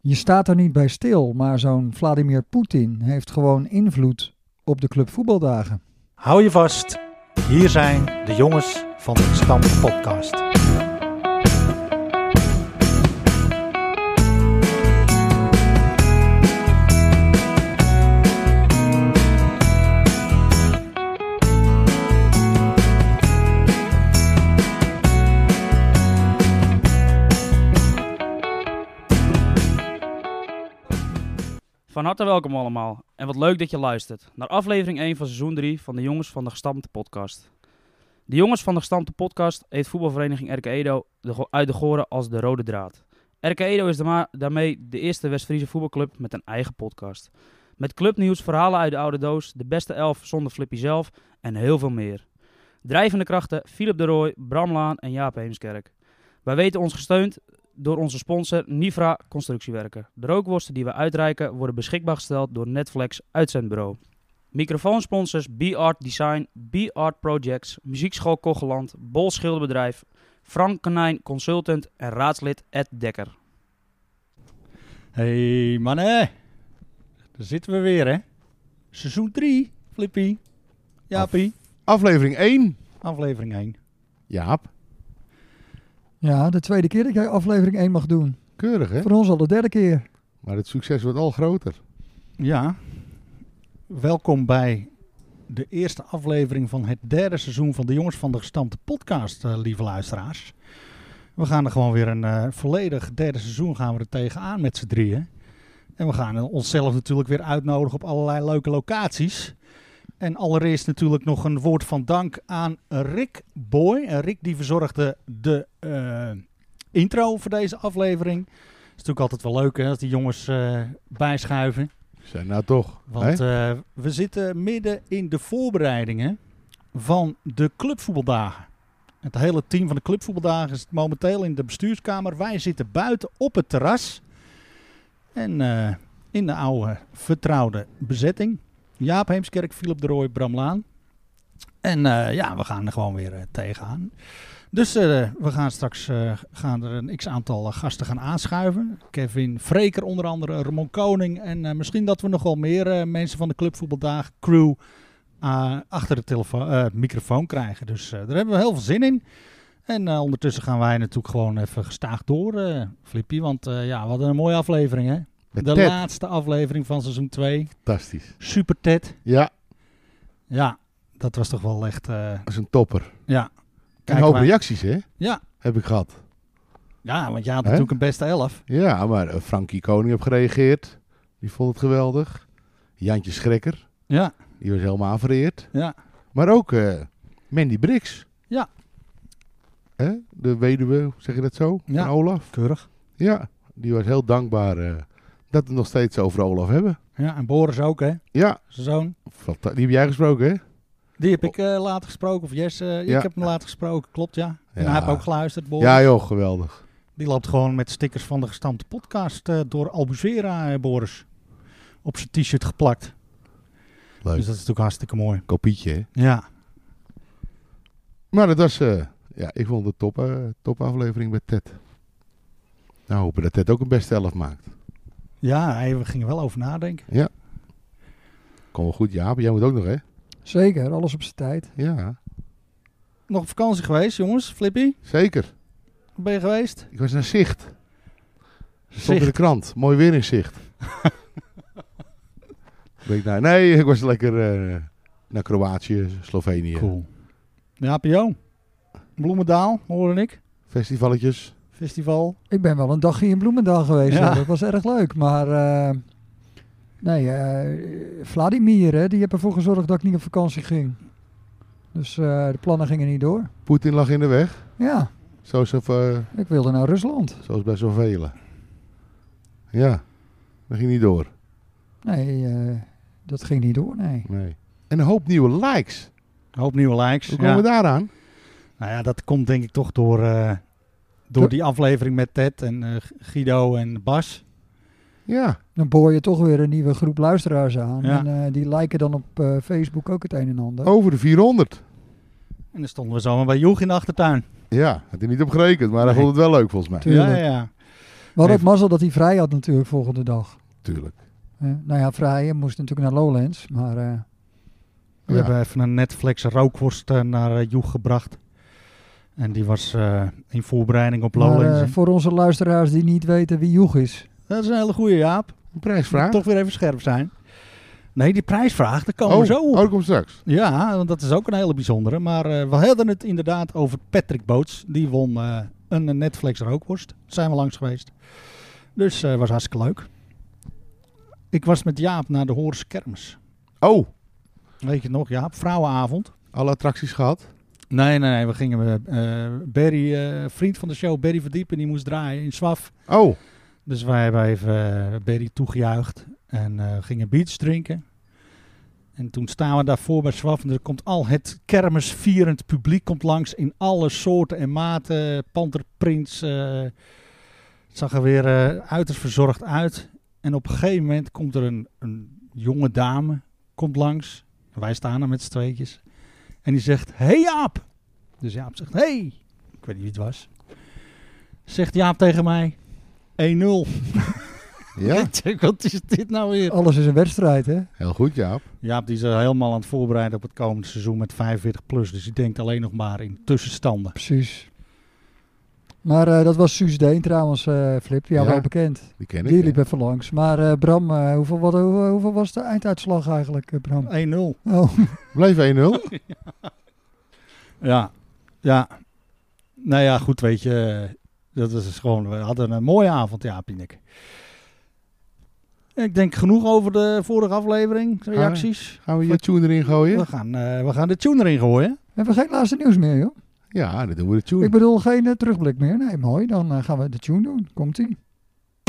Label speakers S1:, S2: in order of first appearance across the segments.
S1: je staat er niet bij stil, maar zo'n Vladimir Poetin heeft gewoon invloed op de clubvoetbaldagen.
S2: Hou je vast, hier zijn de jongens van de Stam Podcast.
S3: Van harte welkom allemaal en wat leuk dat je luistert naar aflevering 1 van seizoen 3 van de Jongens van de Gestampte Podcast. De Jongens van de Gestampte Podcast heeft voetbalvereniging RK Edo de go- uit de Goren als de rode draad. RK Edo is daarma- daarmee de eerste West-Friese voetbalclub met een eigen podcast. Met clubnieuws, verhalen uit de oude doos, de beste elf zonder Flippy zelf en heel veel meer. Drijvende krachten Philip de Rooij, Bram Laan en Jaap Heemskerk. Wij weten ons gesteund door onze sponsor Nivra Constructiewerken. De rookworsten die we uitreiken worden beschikbaar gesteld door Netflix Uitzendbureau. Microfoonsponsors B-Art Design, B-Art Projects, Muziekschool Kogeland, Bol Schilderbedrijf, Frank Kanijn Consultant en raadslid Ed Dekker.
S2: Hey mannen, daar zitten we weer hè. Seizoen 3, Flippy, Jaapie,
S4: Aflevering 1.
S2: aflevering 1.
S4: Jaap,
S1: Ja, de tweede keer dat jij aflevering 1 mag doen.
S4: keurig hè?
S1: Voor ons al de derde keer.
S4: Maar het succes wordt al groter.
S2: Ja, welkom bij de eerste aflevering van het derde seizoen van de Jongens van de Gestampte Podcast, eh, lieve luisteraars. We gaan er gewoon weer een eh, volledig derde seizoen gaan we er tegenaan met z'n drieën. En we gaan onszelf natuurlijk weer uitnodigen op allerlei leuke locaties. En allereerst natuurlijk nog een woord van dank aan Rick Boy. En Rick die verzorgde de eh, intro voor deze aflevering. Het is natuurlijk altijd wel leuk hè, als die jongens eh, bijschuiven.
S4: Zijn nou toch?
S2: Want
S4: hè?
S2: eh, we zitten midden in de voorbereidingen van de clubvoetbaldagen. Het hele team van de clubvoetbaldagen is momenteel in de bestuurskamer. Wij zitten buiten op het terras. En eh, in de oude vertrouwde bezetting. Jaap Heemskerk, Philip de Rooij, Bram Laan. En eh, ja, we gaan er gewoon weer eh, tegenaan. Dus eh, we gaan straks eh, gaan er een x-aantal eh, gasten gaan aanschuiven. Kevin Vreker onder andere, Ramon Koning. En eh, misschien dat we nog wel meer eh, mensen van de clubvoetbaldagen crew eh, achter de telefoon, eh, microfoon krijgen. Dus eh, daar hebben we heel veel zin in. En eh, ondertussen gaan wij natuurlijk gewoon even gestaag door, eh Flippy. Want eh, ja, wat een mooie aflevering hè.
S4: Met
S2: De
S4: Ted.
S2: laatste aflevering van seizoen 2.
S4: Fantastisch.
S2: Super Ted.
S4: Ja,
S2: Ja, dat was toch wel echt... eh
S4: dat is een topper.
S2: ja.
S4: een hoop
S2: maar-
S4: reacties hè?
S2: Ja.
S4: Heb ik gehad.
S2: ja, want jij had
S4: Hè?
S2: natuurlijk een beste elf.
S4: Ja, maar eh, Frankie Koning heeft gereageerd. Die vond het geweldig. Jantje Schrekker,
S2: Ja,
S4: die was helemaal vereerd.
S2: ja.
S4: Maar ook eh, Mandy Brix.
S2: Ja.
S4: Hè? De weduwe, hoe zeg je dat zo?
S2: Ja.
S4: Van Olaf.
S2: Keurig.
S4: Ja, die was heel dankbaar eh, dat we het nog steeds over Olaf hebben.
S2: Ja, en Boris ook hè,
S4: Ja,
S2: zijn zoon.
S4: fanta- die heb jij gesproken hè?
S2: Die heb ik eh, later gesproken, of Jess, eh,
S4: Ja.
S2: ik heb hem later gesproken, klopt ja. En
S4: Ja.
S2: hij heeft ook geluisterd, Boris.
S4: Ja joh, geweldig.
S2: Die loopt gewoon met stickers van de gestampte podcast eh, door Albuzera, eh, Boris. Op zijn t-shirt geplakt.
S4: Leuk.
S2: Dus dat is natuurlijk hartstikke mooi.
S4: Kopietje, hè?
S2: Ja,
S4: Maar dat was, eh, ja, ik vond het top, eh, topaflevering met Ted. Nou, hopen dat Ted ook een beste elf maakt.
S2: ja hij, we gingen wel over nadenken.
S4: Kom wel goed, Jaap. Jij moet ook nog, hè?
S1: Zeker, alles op zijn tijd.
S4: Ja,
S2: Nog op vakantie geweest, jongens. Flippy,
S4: zeker.
S2: ben je geweest?
S4: Ik was naar Zicht. Stond in de
S2: Zicht.
S4: krant. Mooi weer in Zicht. Ben ik nou, nee, ik was lekker eh, naar Kroatië, Slovenië.
S2: Cool. Ja, PO. Bloemendaal, hoorde ik.
S4: Festivaletjes.
S2: Festival.
S1: Ik ben wel een dagje in Bloemendaal geweest.
S2: Ja.
S1: hoor. Dat was erg leuk. Maar eh, nee, eh, Vladimir, hè, die heeft ervoor gezorgd dat ik niet op vakantie ging. Dus eh, de plannen gingen niet door.
S4: Poetin lag in de weg.
S1: Ja,
S4: Zoals, eh,
S1: ik wilde naar Rusland.
S4: zoals bij zoveel. Ja, dat ging niet door.
S1: Nee, eh, dat ging niet door, nee.
S4: Nee. En een hoop nieuwe likes.
S2: Een hoop nieuwe likes.
S4: Hoe
S2: ja.
S4: komen we daaraan?
S2: Nou ja, dat komt denk ik toch door, eh, door
S1: Ja.
S2: die aflevering met Ted en eh, Guido en Bas.
S4: Ja,
S1: Dan boor je toch weer een nieuwe groep luisteraars aan.
S2: Ja.
S1: En eh, die liken dan op eh, Facebook ook het een en ander.
S4: over de 400.
S2: En dan stonden we zomaar bij Joeg in de achtertuin.
S4: Ja, had hij niet op gerekend, maar hij
S2: Nee.
S4: vond het wel leuk volgens mij.
S1: Tuurlijk.
S2: Ja, ja.
S1: We hadden ook
S4: Even-
S1: mazzel dat hij vrij had natuurlijk volgende dag.
S4: Tuurlijk.
S1: Eh, nou ja, vrij. Hij moest natuurlijk naar Lowlands. Maar eh,
S2: We
S4: Ja.
S2: hebben even een Netflix rookworst eh, naar eh, Joeg gebracht. En die was eh, in voorbereiding op
S1: maar,
S2: Lowlands.
S1: eh, voor onze luisteraars die niet weten wie Joeg is.
S2: dat is een hele goede Jaap.
S4: Een prijsvraag.
S2: Toch weer even scherp zijn. Nee, die prijsvraag, daar komen
S4: Oh,
S2: we zo op.
S4: oh, dat komt straks.
S2: Ja, want dat is ook een hele bijzondere. Maar eh, we hadden het inderdaad over Patrick Boots. Die won eh, een Netflix rookworst. Zijn we langs geweest. Dus eh was hartstikke leuk. Ik was met Jaap naar de Horse Kermis.
S4: Oh,
S2: Weet je nog, Jaap? Vrouwenavond.
S4: alle attracties gehad.
S2: Nee, nee, nee. We gingen eh Barry, eh, vriend van de show, Barry Verdiepen, die moest draaien in Swaf.
S4: Oh,
S2: Dus wij hebben even eh, Barry toegejuicht en eh, gingen beats drinken. En toen staan we daarvoor bij Swaf en er komt al het kermisvierend publiek komt langs in alle soorten en maten. Panterprins, eh, het zag er weer eh, uiterst verzorgd uit. En op een gegeven moment komt er een, een jonge dame komt langs. En wij staan er met z'n tweetjes. En die zegt, hey Jaap! Dus Jaap zegt, hey! Ik weet niet wie het was. Zegt Jaap tegen mij, 1-0.
S4: ja.
S2: Ik denk, Wat is dit nou weer?
S1: Alles is een wedstrijd, hè?
S4: Heel goed, Jaap.
S2: Jaap die is er helemaal aan het voorbereiden op het komende seizoen met 45 plus. Dus die denkt alleen nog maar in tussenstanden.
S1: Precies. Maar eh, dat was Suus Deen trouwens, eh, Flip. Ja,
S4: Ja.
S1: wel bekend.
S4: Die ken ik.
S1: Die
S4: hè.
S1: liep even langs. Maar eh, Bram, eh, hoeveel, wat, hoe- hoeveel was de einduitslag eigenlijk, eh, Bram?
S2: 1-0.
S1: Oh,
S4: Bleef 1-0.
S2: Ja. Ja. Nou ja, goed weet je. eh, Dat was dus gewoon, we hadden een mooie avond Jaap en ik. Ik denk genoeg over de vorige aflevering. Reacties.
S4: Gaan we je tune erin
S2: We
S4: gooien?
S2: gaan, eh, we gaan de tune erin gooien.
S1: hebben we geen laatste nieuws meer, joh?
S4: Ja, dan doen we de
S1: Ik
S4: tune.
S1: bedoel, geen eh, terugblik meer. Nee, mooi. Dan eh, gaan we de tune doen. Komt-ie.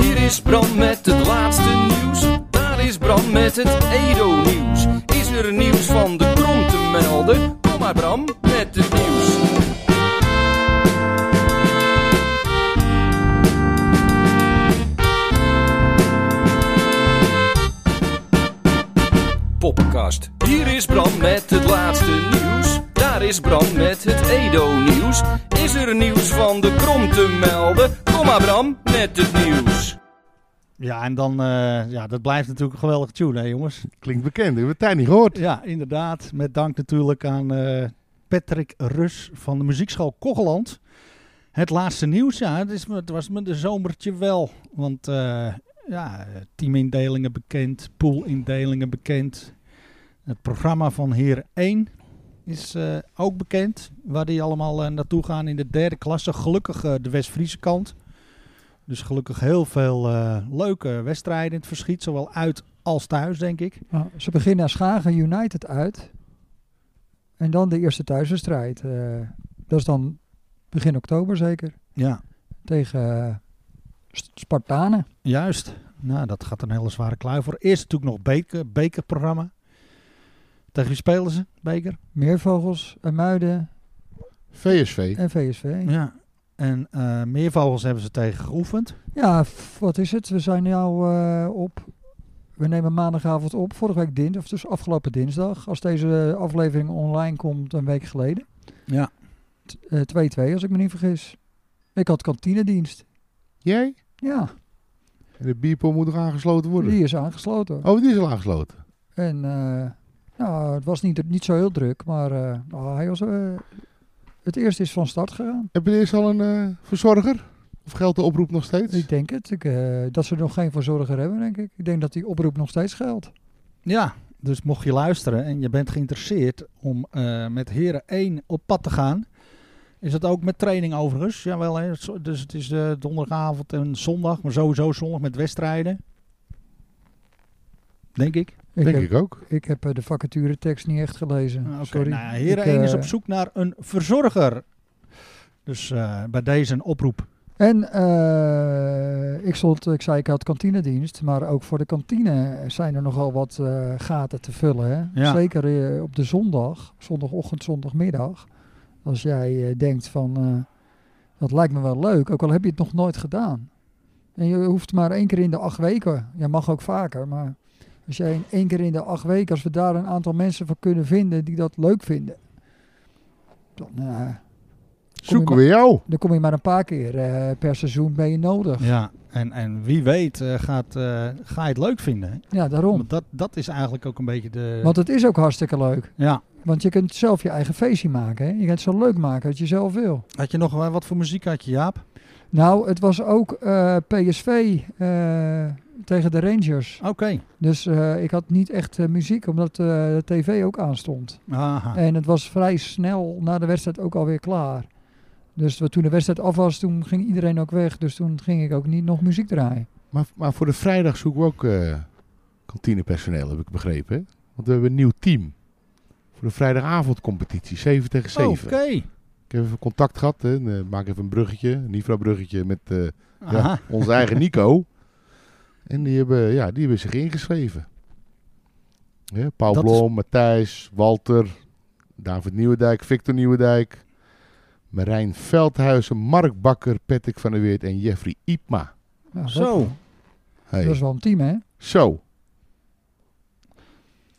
S5: Hier is Bram met het laatste nieuws. Daar is Bram met het Edo-nieuws. Is er nieuws van de krom te melden? Kom maar Bram met het nieuws. Poppenkast. Hier is Bram met het laatste nieuws. Daar is Bram met het Edo-nieuws. Is er nieuws van de krom te melden? Kom maar Bram met het nieuws.
S2: Ja, en dan, eh, ja, dat blijft natuurlijk een geweldige tune, hè jongens.
S4: Klinkt bekend. Ik heb het tijd niet gehoord.
S2: Ja, inderdaad. Met dank natuurlijk aan eh, Patrick Rus van de muziekschool Kogeland. Het laatste nieuws, ja, het, is, me- het was me de zomertje wel. Want eh, ja, teamindelingen bekend, poolindelingen bekend. Het programma van Heer 1 is eh, ook bekend. Waar die allemaal eh, naartoe gaan in de derde klasse. Gelukkig eh, de West-Friese kant. Dus gelukkig heel veel eh, leuke wedstrijden in het verschiet. Zowel uit als thuis, denk ik.
S1: Nou, ze beginnen naar Schagen United uit. En dan de eerste thuiswedstrijd. eh, dat is dan begin oktober zeker.
S2: Ja.
S1: Tegen eh, S- Spartanen.
S2: Juist. Nou, dat gaat een hele zware kluif voor. Eerst natuurlijk nog beker, bekerprogramma. Tegen wie spelen ze? Beker?
S1: Meervogels, eh, Muiden
S4: VSV.
S1: en VSV.
S2: Ja. En eh, meervogels hebben ze tegen geoefend.
S1: Ja, f- wat is het? We zijn nu eh, op. We nemen maandagavond op. Vorige week dinsdag, of dus afgelopen dinsdag. Als deze eh, aflevering online komt, een week geleden.
S2: Ja.
S1: T- eh, 2-2, als ik me niet vergis. Ik had kantinedienst.
S4: Jij?
S1: Ja,
S4: En de bierpom moet nog aangesloten worden.
S1: die is aangesloten.
S4: Oh, die is al aangesloten.
S1: En eh, nou, het was niet, niet zo heel druk, maar eh, nou, hij was, eh, het eerste is van start gegaan.
S4: Heb je eerst al een eh, verzorger? Of geldt de oproep nog steeds?
S1: Ik denk het. Ik, eh, dat ze er nog geen verzorger hebben, denk ik. Ik denk dat die oproep nog steeds geldt.
S2: Ja. Dus mocht je luisteren en je bent geïnteresseerd om eh, met heren 1 op pad te gaan. Is dat ook met training overigens? Jawel, hè? Zo- dus het is eh, donderdagavond en zondag. Maar sowieso zondag met wedstrijden. Denk ik.
S1: Ik
S4: Denk
S1: heb,
S4: ik ook.
S1: ik heb eh, de vacature tekst niet echt gelezen.
S2: Ah, Oké,
S1: Sorry.
S2: nou, Heren
S1: Ik, eh,
S2: is op zoek naar een verzorger. Dus eh, bij deze een oproep.
S1: En eh, ik, stond, ik zei ik had kantinedienst, maar ook voor de kantine zijn er nogal wat eh, gaten te vullen. Hè?
S2: Ja.
S1: Zeker eh, op de zondag, zondagochtend, zondagmiddag. Als jij eh, denkt van, eh, dat lijkt me wel leuk, ook al heb je het nog nooit gedaan. En je hoeft maar één keer in de acht weken, je mag ook vaker, maar als jij in één keer in de acht weken, als we daar een aantal mensen van kunnen vinden die dat leuk vinden, dan eh, kom je
S4: Zoeken
S1: maar-
S4: we
S2: Oh.
S4: jou.
S1: dan kom je maar een paar keer eh, per seizoen ben je nodig. Ja,
S2: Ja, en, en wie weet eh, gaat, eh, ga je het leuk vinden. hè?
S1: daarom.
S2: Want dat, dat is eigenlijk ook een beetje de...
S1: Want het is ook hartstikke leuk.
S2: Ja.
S1: Want je kunt zelf je eigen feestje maken. Hè? Je kan het zo leuk maken als je zelf wil.
S2: Had je nog wel- wat voor muziek had je, Jaap?
S1: Nou, het was ook eh, PSV eh, tegen de Rangers.
S2: Oké.
S1: Dus eh, ik had niet echt eh, muziek, omdat eh, de tv ook aanstond.
S2: Aha.
S1: En het was vrij snel na de wedstrijd ook alweer klaar. Dus wat- toen de wedstrijd af was, toen ging iedereen ook weg. Dus toen ging ik ook niet nog muziek draaien.
S4: Maar, maar voor de vrijdag zoeken we ook eh, kantinepersoneel, heb ik begrepen. Hè? Want we hebben een nieuw team. Voor de vrijdagavondcompetitie, 7 tegen 7.
S2: Oké.
S4: Ik heb even contact gehad, hè, en, eh, maak even een bruggetje, een IFRA-bruggetje met eh, ja,
S2: Aha.
S4: onze eigen Nico. En die hebben, ja, die hebben zich ingeschreven. Ja, Paul
S2: Dat is-
S4: Blom, Matthijs, Walter, David Nieuwendijk, Victor Nieuwendijk, Marijn Veldhuizen, Mark Bakker, Patrick van der Weert en Jeffrey Iepma.
S1: Nou, dat-
S2: Zo.
S4: Hey.
S1: Dat is wel een team, hè?
S4: Zo,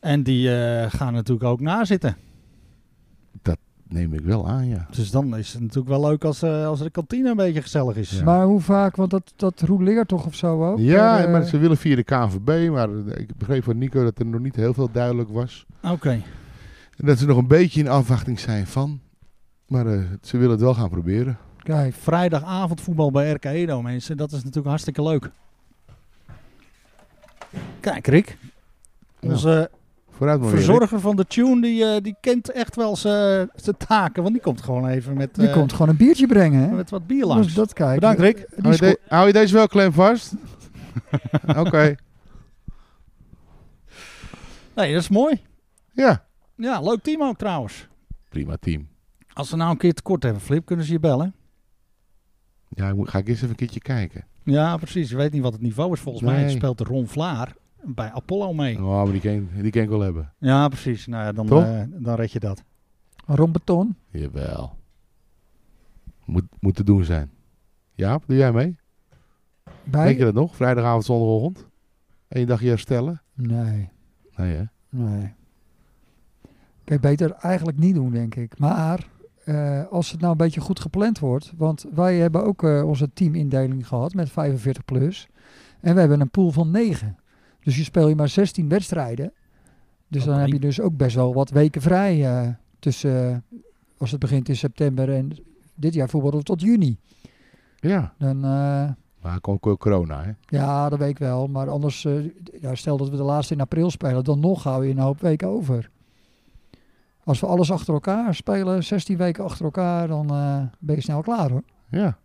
S2: En die eh, gaan natuurlijk ook nazitten.
S4: neem ik wel aan, ja.
S2: Dus dan is het natuurlijk wel leuk als, eh, als de kantine een beetje gezellig is.
S1: Maar hoe vaak, want dat, dat rouleert toch of zo ook?
S4: Ja,
S1: Eh,
S4: maar ze willen via de KNVB, maar eh, ik begreep van Nico dat er nog niet heel veel duidelijk was.
S2: Oké.
S4: En dat ze nog een beetje in afwachting zijn van. Maar eh, ze willen het wel gaan proberen.
S1: Kijk,
S2: Vrijdagavond voetbal bij RK Edo, mensen. Dat is natuurlijk hartstikke leuk. Kijk, Rick.
S4: Ja.
S2: Onze eh,
S4: Vooruit maar weer, hè.
S2: verzorger van de tune, die, eh, die kent echt wel zijn zijn taken. Want die komt gewoon even met,
S1: je
S2: eh,
S1: komt gewoon een biertje brengen, hè?
S2: met wat bier
S1: Dus
S2: langs.
S1: dat kijk.
S2: Bedankt, Rick. Oh,
S4: Hou je,
S1: sco-
S4: de- hou je deze wel klem vast? Oké.
S2: Nee, dat is mooi.
S4: Ja.
S2: Ja, leuk team ook trouwens.
S4: Prima team.
S2: Als ze nou een keer tekort hebben, Flip, kunnen ze je bellen.
S4: Ja, ik moet- ga ik eerst even een keertje kijken.
S2: Ja, precies. Je weet niet wat het niveau is. Volgens mij
S4: Nee.
S2: speelt de Ron Vlaar bij Apollo mee.
S4: Oh, maar die kan, die kan ik wel hebben.
S2: Ja, precies. Nou ja, dan,
S4: Toch?
S2: eh, dan red je dat.
S1: Ron Beton.
S4: Jawel. Moet, moet te doen zijn. Jaap, doe jij mee?
S1: Bij?
S4: Denk je dat nog? Vrijdagavond, zondagochtend? Eén dagje herstellen?
S1: Nee,
S4: Nee, hè?
S1: nee. Kijk, beter eigenlijk niet doen, denk ik. Maar eh, als het nou een beetje goed gepland wordt... want wij hebben ook eh, onze teamindeling gehad met 45 plus. En we hebben een pool van 9. Dus je speelt je maar 16 wedstrijden. Dus dan
S2: Oké.
S1: heb je dus ook best wel wat weken vrij... eh, tussen, eh, als het begint in september en dit jaar bijvoorbeeld tot juni.
S4: Ja.
S1: Dan... eh,
S4: Maar komt ook corona, hè?
S1: Ja, dat weet ik wel. Maar anders, eh, ja, stel dat we de laatste in april spelen, dan nog hou je een hoop weken over. Als we alles achter elkaar spelen, 16 weken achter elkaar, dan eh, ben je snel klaar hoor.
S4: Ja.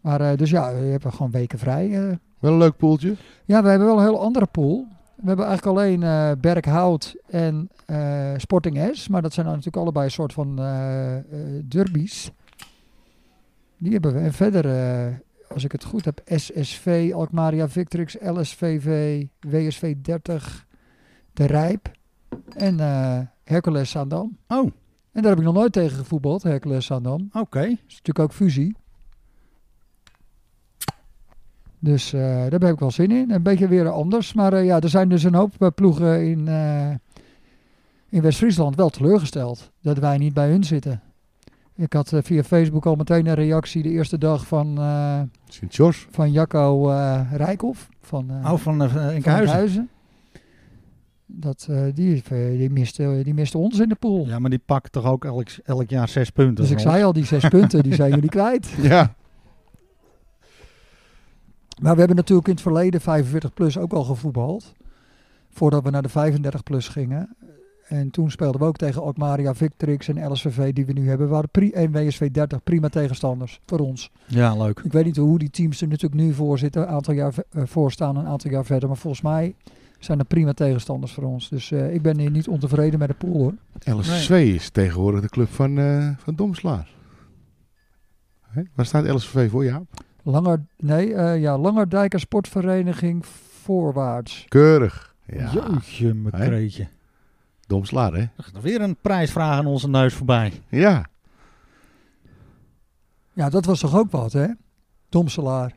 S1: Maar eh, dus ja, je hebt er gewoon weken vrij. eh.
S4: Wel een leuk poeltje.
S1: Ja, we hebben wel een heel andere pool. We hebben eigenlijk alleen eh, Berkhout en eh, Sporting S. Maar dat zijn dan natuurlijk allebei een soort van eh, eh, derbies. Die hebben we. En verder, eh, als ik het goed heb, SSV, Alkmaria Victrix, LSVV, WSV 30, De Rijp en eh, Hercules Zaandam.
S2: Oh, oké.
S1: En daar heb ik nog nooit tegen gevoetbald, Hercules Zaandam. Dat is natuurlijk ook fusie. Dus eh, daar heb ik wel zin in. Een beetje weer anders. Maar eh, ja, er zijn dus een hoop eh, ploegen in, eh, in West-Friesland wel teleurgesteld dat wij niet bij hun zitten. Ik had eh, via Facebook al meteen een reactie de eerste dag van, eh,
S4: Sint-Jos.
S1: van Jacco eh Rijkhoff. Van, eh,
S2: Oh, van eh
S1: van
S2: Enkhuizen.
S1: Enkhuizen. Dat, eh, die, die, miste, die miste ons in de pool.
S2: Ja, maar die pakt toch ook elk, elk jaar zes punten.
S1: dus ik
S2: van
S1: zei al, die zes punten die zijn jullie kwijt.
S4: Ja.
S1: Maar we hebben natuurlijk in het verleden 45 plus ook al gevoetbald. Voordat we naar de 35 plus gingen. En toen speelden we ook tegen Alkmaria, Victrix en LSVV die we nu hebben. Waren pri- en WSV 30 prima tegenstanders voor ons.
S2: ons. Ja, leuk.
S1: Ik weet niet hoe die teams er natuurlijk nu voor zitten. Een aantal jaar ve- eh, voor staan, een aantal jaar verder. Maar volgens mij zijn er prima tegenstanders voor ons. Dus eh, ik ben hier niet ontevreden met de pool hoor.
S4: LSV is tegenwoordig de club van, eh, van Domslaar. Hè? Waar staat LSV voor, ja?
S1: Langer, nee, eh, ja, Langerdijker Sportvereniging voorwaarts.
S4: Keurig.
S2: Ja.
S4: Ja,
S2: Jeetje, mijn
S4: Hè?
S2: kreetje.
S4: Domslaar, hè?
S2: Er gaat nog weer een prijsvraag aan onze neus voorbij.
S4: Ja.
S1: Ja, dat was toch ook wat, hè? Domselaar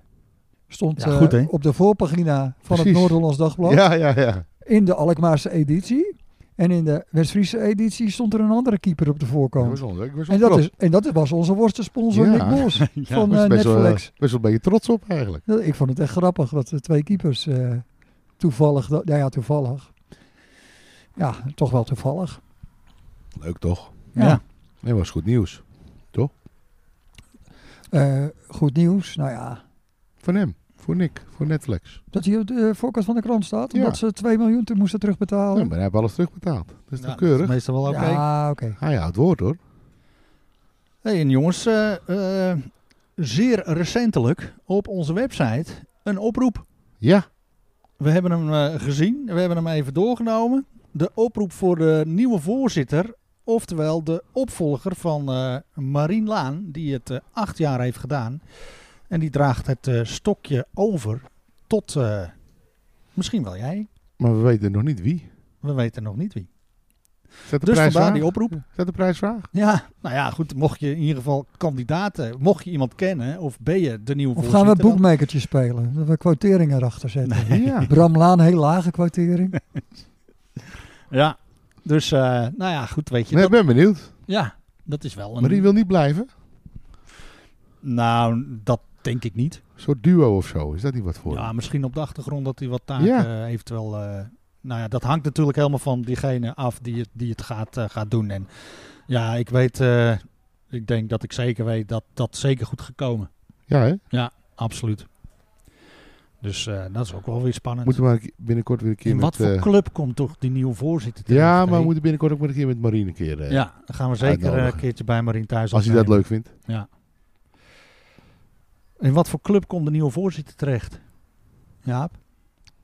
S1: stond
S2: Ja,
S1: eh,
S2: goed, hè?
S1: op de voorpagina van
S4: Precies.
S1: het Noord-Hollands Dagblad
S4: Ja, ja, ja.
S1: in de Alkmaarse editie. En in de West-Friese editie stond er een andere keeper op de
S4: Dat
S1: voorkant.
S4: was wel leuk. Ik was wel
S1: En dat,
S4: trots.
S1: is, en dat was onze worstensponsor
S4: Ja.
S1: Nick Bos
S2: Ja.
S1: van
S4: Ik was
S1: eh,
S4: best wel,
S1: Netflix.
S4: eh, best wel een beetje trots op eigenlijk.
S1: Dat- Ik vond het echt grappig dat de twee keepers eh, toevallig, dat- nou ja, toevallig. Ja, toch wel toevallig.
S4: Leuk toch?
S1: Ja.
S2: Ja.
S4: Nee, was goed nieuws.
S1: Eh, goed nieuws. Nou ja,
S4: Van hem. Voor Nick. Voor Netflix.
S1: dat hij op de eh, voorkant van de krant staat.
S4: Ja.
S1: Omdat ze 2 miljoen te moesten
S4: Ja, Oh, maar
S1: terugbetalen.
S4: hij heeft alles terugbetaald. Dat is
S2: Ja,
S4: toch keurig?
S2: meestal wel oké.
S1: Ja, oké.
S4: Hij houdt woord hoor.
S2: Hey, en jongens, eh, eh, zeer recentelijk op onze website een oproep.
S4: Ja.
S2: We hebben hem eh, gezien, we hebben hem even doorgenomen. De oproep voor de nieuwe voorzitter, oftewel de opvolger van eh Marien Laan, die het eh, acht jaar heeft gedaan. En die draagt het eh, stokje over tot eh, misschien wel jij.
S4: Maar we weten nog niet wie.
S2: We weten nog niet wie.
S4: Is dat de
S2: Dus vandaar
S4: prijsvraag?
S2: die oproep.
S4: Is dat de prijsvraag?
S2: Ja, nou ja, goed. Mocht je in ieder geval kandidaten, mocht je iemand kennen, of ben je de nieuwe
S1: Of
S2: voorzitter?
S1: gaan we
S2: dan-
S1: boekmakertje spelen? Dat we quotering erachter zetten.
S4: Ja.
S1: Bram Laan, heel lage quotering.
S2: Ja, dus eh, nou ja, goed, weet je.
S4: Nee, ik
S2: dat,
S4: ben benieuwd.
S2: ja, dat is wel een...
S4: Maar die wil niet blijven.
S2: Nou, dat denk ik niet.
S4: Een soort duo of zo. Is dat niet wat voor? hem?
S2: Ja, misschien op de achtergrond dat hij wat taken
S4: Ja.
S2: eh, eventueel... eh, nou ja, dat hangt natuurlijk helemaal van diegene af die het, die het gaat, eh, gaat doen. En ja, ik weet... eh, ik denk dat ik zeker weet dat dat zeker goed gekomen.
S4: Ja, hè?
S2: Absoluut. Dus eh, dat is ook wel weer spannend.
S4: Moeten we maar binnenkort weer een keer
S2: In wat
S4: met...
S2: voor
S4: eh,
S2: club komt toch die nieuwe voorzitter terecht,
S4: ja,
S2: hè?
S4: maar we moeten binnenkort ook maar een keer met Marine een keer... eh,
S2: Ja, dan gaan we zeker eh,
S4: uitnodigen.
S2: een keertje bij Marien thuis
S4: Als hij dat
S2: opnemen.
S4: leuk vindt.
S2: In wat voor club komt de nieuwe voorzitter terecht? Jaap?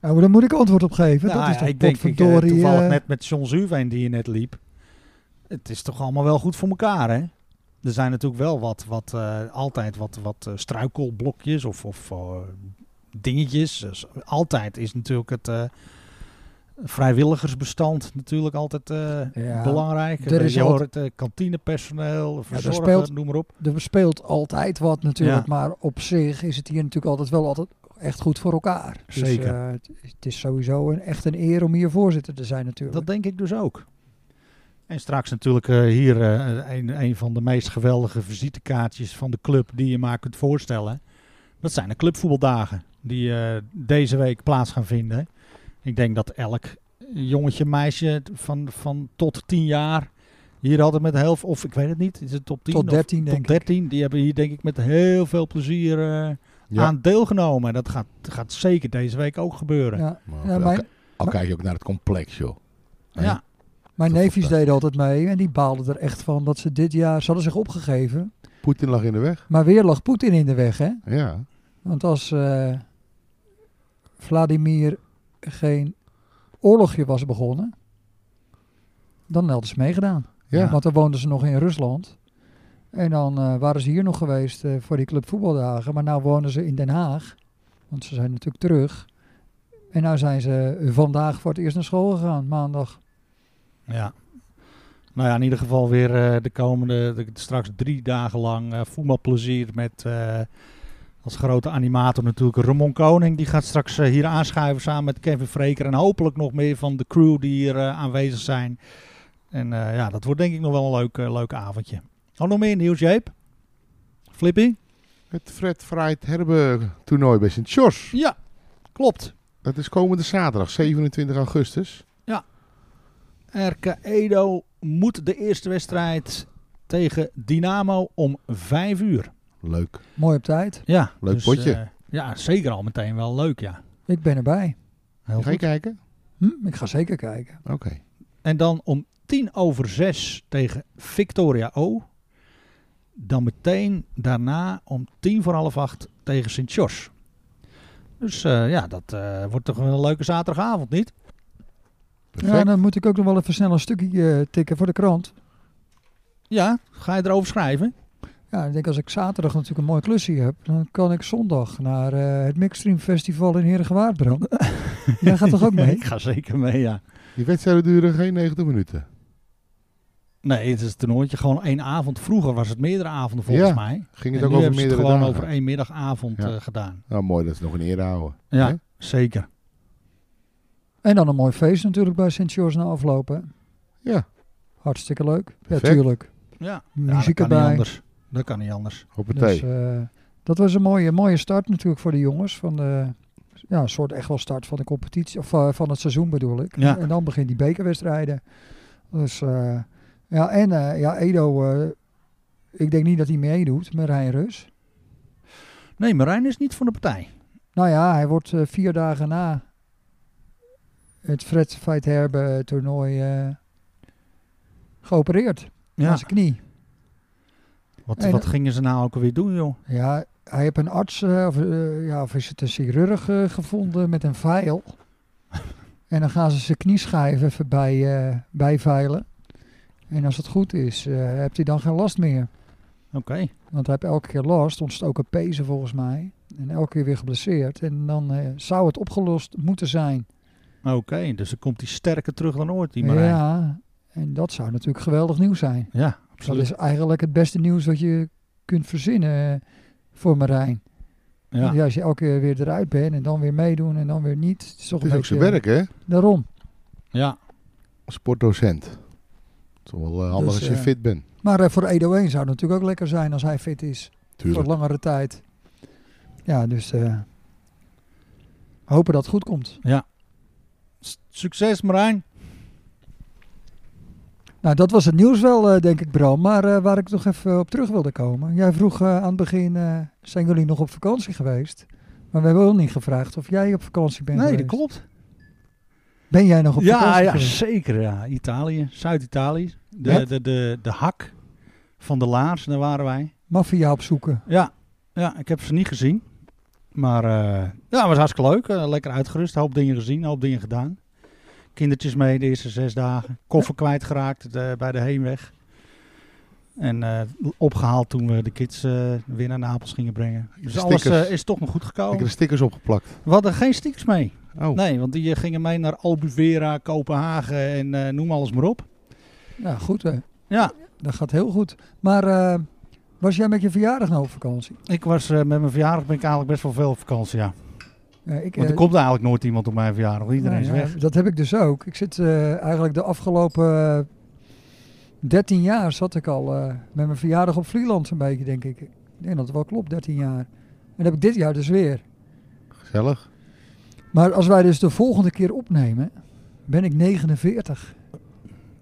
S1: Nou, maar daar moet ik antwoord op geven.
S2: Nou
S1: dat is
S2: ja,
S1: toch
S2: ik denk ik, eh,
S1: potverdorie,
S2: toevallig
S1: eh,
S2: net met John Zuurveen die je net liep. Het is toch allemaal wel goed voor elkaar, hè? Er zijn natuurlijk wel wat, wat eh, altijd wat, wat eh, struikelblokjes of, of eh, dingetjes. Dus altijd is natuurlijk het eh, vrijwilligersbestand natuurlijk altijd eh,
S1: Ja,
S2: belangrijk.
S1: er is
S2: je
S1: altijd-
S2: hoort het eh, kantinepersoneel,
S1: daar
S2: verzorger,
S1: speelt-
S2: noem maar op.
S1: Er speelt altijd wat natuurlijk,
S2: Ja.
S1: maar op zich is het hier natuurlijk altijd wel altijd echt goed voor elkaar. Dus,
S2: Zeker.
S1: eh, het, het is sowieso een, echt een eer om hier voorzitter te zijn natuurlijk.
S2: Dat denk ik dus ook. En straks natuurlijk eh, hier eh, een, een van de meest geweldige visitekaartjes van de club die je maar kunt voorstellen. Dat zijn de clubvoetbaldagen die eh, deze week plaats gaan vinden. Ik denk dat elk jongetje, meisje van, van tot 10 jaar hier altijd met heel veel, of ik weet het niet, is het top 10
S1: Tot
S2: of
S1: 13 denk
S2: tot
S1: ik.
S2: 13. Die hebben hier denk ik met heel veel plezier eh,
S4: Ja.
S2: aan deelgenomen. En dat gaat, gaat zeker deze week ook gebeuren. Ja,
S1: Ja.
S4: Maar
S1: Ja,
S4: al,
S1: mijn,
S4: ki- al kijk je ook naar het complex, joh. Hè?
S2: ja.
S1: mijn
S4: Dat is
S1: neefjes deden altijd mee en die baalden er echt van dat ze dit jaar, ze hadden zich opgegeven,
S4: Poetin lag in de weg.
S1: maar weer lag Poetin in de weg hè.
S4: Ja.
S1: Want als eh, Vladimir geen oorlogje was begonnen, dan hadden ze meegedaan.
S4: Ja.
S1: Want dan woonden ze nog in Rusland. En dan eh, waren ze hier nog geweest eh, voor die clubvoetbaldagen. Maar nu wonen ze in Den Haag. Want ze zijn natuurlijk terug. En nu zijn ze vandaag voor het eerst naar school gegaan, maandag.
S2: Ja. Nou ja, in ieder geval weer eh, de komende, de- straks drie dagen lang eh, voetbalplezier met eh, als grote animator natuurlijk Ramon Koning. Die gaat straks eh, hier aanschuiven samen met Kevin Freker en hopelijk nog meer van de crew die hier eh, aanwezig zijn. En eh, ja, dat wordt denk ik nog wel een leuk, eh, leuk avondje. Oh, nog meer nieuws, Jeep? Flippy?
S4: Het Fred Fried Herbe toernooi bij sint George.
S2: Ja, klopt.
S4: Dat is komende zaterdag, 27 augustus.
S2: RK Edo moet de eerste wedstrijd tegen Dynamo om vijf uur.
S4: Leuk.
S1: Mooi op tijd.
S2: Ja,
S4: Leuk
S1: dus,
S4: potje.
S2: eh, ja, zeker al meteen wel leuk, ja.
S1: Ik ben erbij.
S2: Heel
S4: Ga je
S2: goed.
S4: kijken?
S1: Hm? Ik ga zeker kijken.
S4: Oké.
S2: En dan om tien over zes tegen Victoria O. Dan meteen daarna om tien voor half acht tegen Sint Jos. Dus eh, ja, dat eh, wordt toch wel een leuke zaterdagavond, niet?
S4: Perfect.
S1: Ja, dan moet ik ook nog wel even snel een stukje eh, tikken voor de krant.
S2: Ja, ga je erover schrijven?
S1: Ja, ik denk als ik zaterdag natuurlijk een mooi klusje heb, dan kan ik zondag naar eh, het Mixstream Festival in Heergewaard, Bram. Jij gaat toch ook mee?
S2: Ik ga zeker mee, ja.
S4: Die wedstrijden duren geen 90 minuten.
S2: Nee, het is een toernooitje. Gewoon één avond. Vroeger was het meerdere avonden volgens
S4: Ja,
S2: mij.
S4: Ging
S2: En
S4: het
S2: nu
S4: ook over
S2: hebben ze het
S4: meerdere
S2: gewoon
S4: dagen?
S2: over één middagavond
S4: Ja.
S2: eh, gedaan.
S4: Nou, mooi dat ze nog een eer houden.
S2: Ja,
S4: Hè?
S2: zeker.
S1: En dan een mooi feest natuurlijk bij Sint George na aflopen.
S4: Ja,
S1: Hartstikke leuk.
S4: Perfect.
S1: Ja, tuurlijk.
S2: Ja, dat
S1: Muziek
S2: kan niet
S1: erbij.
S2: anders. Dat kan niet anders.
S4: hoppatee.
S1: Dus, eh, dat was een mooie, mooie start natuurlijk voor de jongens. Van de, ja, een soort echt wel start van de competitie. Of eh, van het seizoen bedoel ik.
S2: Ja.
S1: En dan begint die bekerwedstrijden. Dus eh, ja, en eh, ja, Edo. eh, ik denk niet dat hij meedoet met Rijn Rus.
S2: Nee, Marijn is niet van de partij.
S1: Nou ja, hij wordt eh, vier dagen na het Fred Feitherbe toernooi eh, geopereerd.
S2: Ja.
S1: Aan zijn knie.
S2: Wat,
S1: En-
S2: wat gingen ze nou ook alweer doen, joh?
S1: Ja, hij heeft een arts, eh, of, eh, ja, of is het een chirurg eh, gevonden met een vijl. en dan gaan ze zijn knieschijven even bij, eh bijveilen. En als het goed is, eh heeft hij dan geen last meer.
S2: Oké.
S1: Want hij heeft elke keer last, ontstoken pezen volgens mij. En elke keer weer geblesseerd. En dan eh, zou het opgelost moeten zijn.
S2: Oké, dus dan komt hij sterker terug dan ooit, die Marijn. Ja,
S1: Ja, en dat zou natuurlijk geweldig nieuws zijn. Dat
S2: absoluut.
S1: is eigenlijk het beste nieuws wat je kunt verzinnen eh, voor Marijn.
S2: ja.
S1: Ja. als je elke keer weer eruit bent en dan weer meedoen en dan weer niet. Het is toch
S4: Het is
S1: een
S4: ook zijn
S1: beetje-
S4: werk, hè?
S1: Daarom.
S2: ja.
S4: Sportdocent. Het is wel eh, handig
S1: Dus,
S4: als je
S1: eh,
S4: fit bent.
S1: Maar eh, voor Edo 1 zou het natuurlijk ook lekker zijn als hij fit is.
S4: Tuurlijk.
S1: Voor langere tijd. Ja, dus eh, hopen dat het goed komt.
S2: S- Succes, Marijn.
S1: Nou, dat was het nieuws wel, eh, denk ik, Bram. Maar eh, waar ik nog even op terug wilde komen. Jij vroeg eh, aan het begin, eh, zijn jullie nog op vakantie geweest? Maar we hebben ook niet gevraagd of jij op vakantie bent
S2: nee, dat
S1: geweest.
S2: klopt.
S1: Ben jij nog op
S2: Ja,
S1: vakantie
S2: ja,
S1: geweest?
S2: zeker. Ja. Italië, Zuid-Italië. De,
S1: Ja?
S2: de, de, de hak van de laars, daar waren wij.
S1: Maffia opzoeken.
S2: Ja, ja ik heb ze niet gezien. Maar eh, ja, het was hartstikke leuk. Eh, lekker uitgerust. Een hoop dingen gezien, een hoop dingen gedaan. Kindertjes mee de eerste zes dagen. Koffer kwijtgeraakt eh, bij de heenweg. En eh, opgehaald toen we de kids eh, weer naar Napels gingen brengen. Dus alles
S4: Stickers.
S2: eh, is toch nog goed gekomen.
S4: Ik heb er stickers opgeplakt.
S2: We hadden geen stickers mee.
S4: Oh,
S2: Nee, want die eh, gingen mee naar Albuvera, Kopenhagen en eh, noem alles maar op.
S1: Ja, Nou, goed hè.
S2: Ja,
S1: Dat gaat heel goed. Maar eh, was jij met je verjaardag nou op vakantie?
S2: ik was eh, met mijn verjaardag ben ik eigenlijk best wel veel op vakantie, ja.
S1: Ja, ik,
S2: Want
S1: eh,
S2: er komt eigenlijk nooit iemand op mijn verjaardag, want iedereen is
S1: nou ja,
S2: weg.
S1: Dat heb ik dus ook. Ik zit eh, eigenlijk de afgelopen eh, 13 jaar zat ik al eh, met mijn verjaardag op Vlieland een beetje, denk ik. Ik denk dat het wel klopt, 13 jaar. En dat heb ik dit jaar dus weer.
S4: gezellig.
S1: Maar als wij dus de volgende keer opnemen, ben ik 49.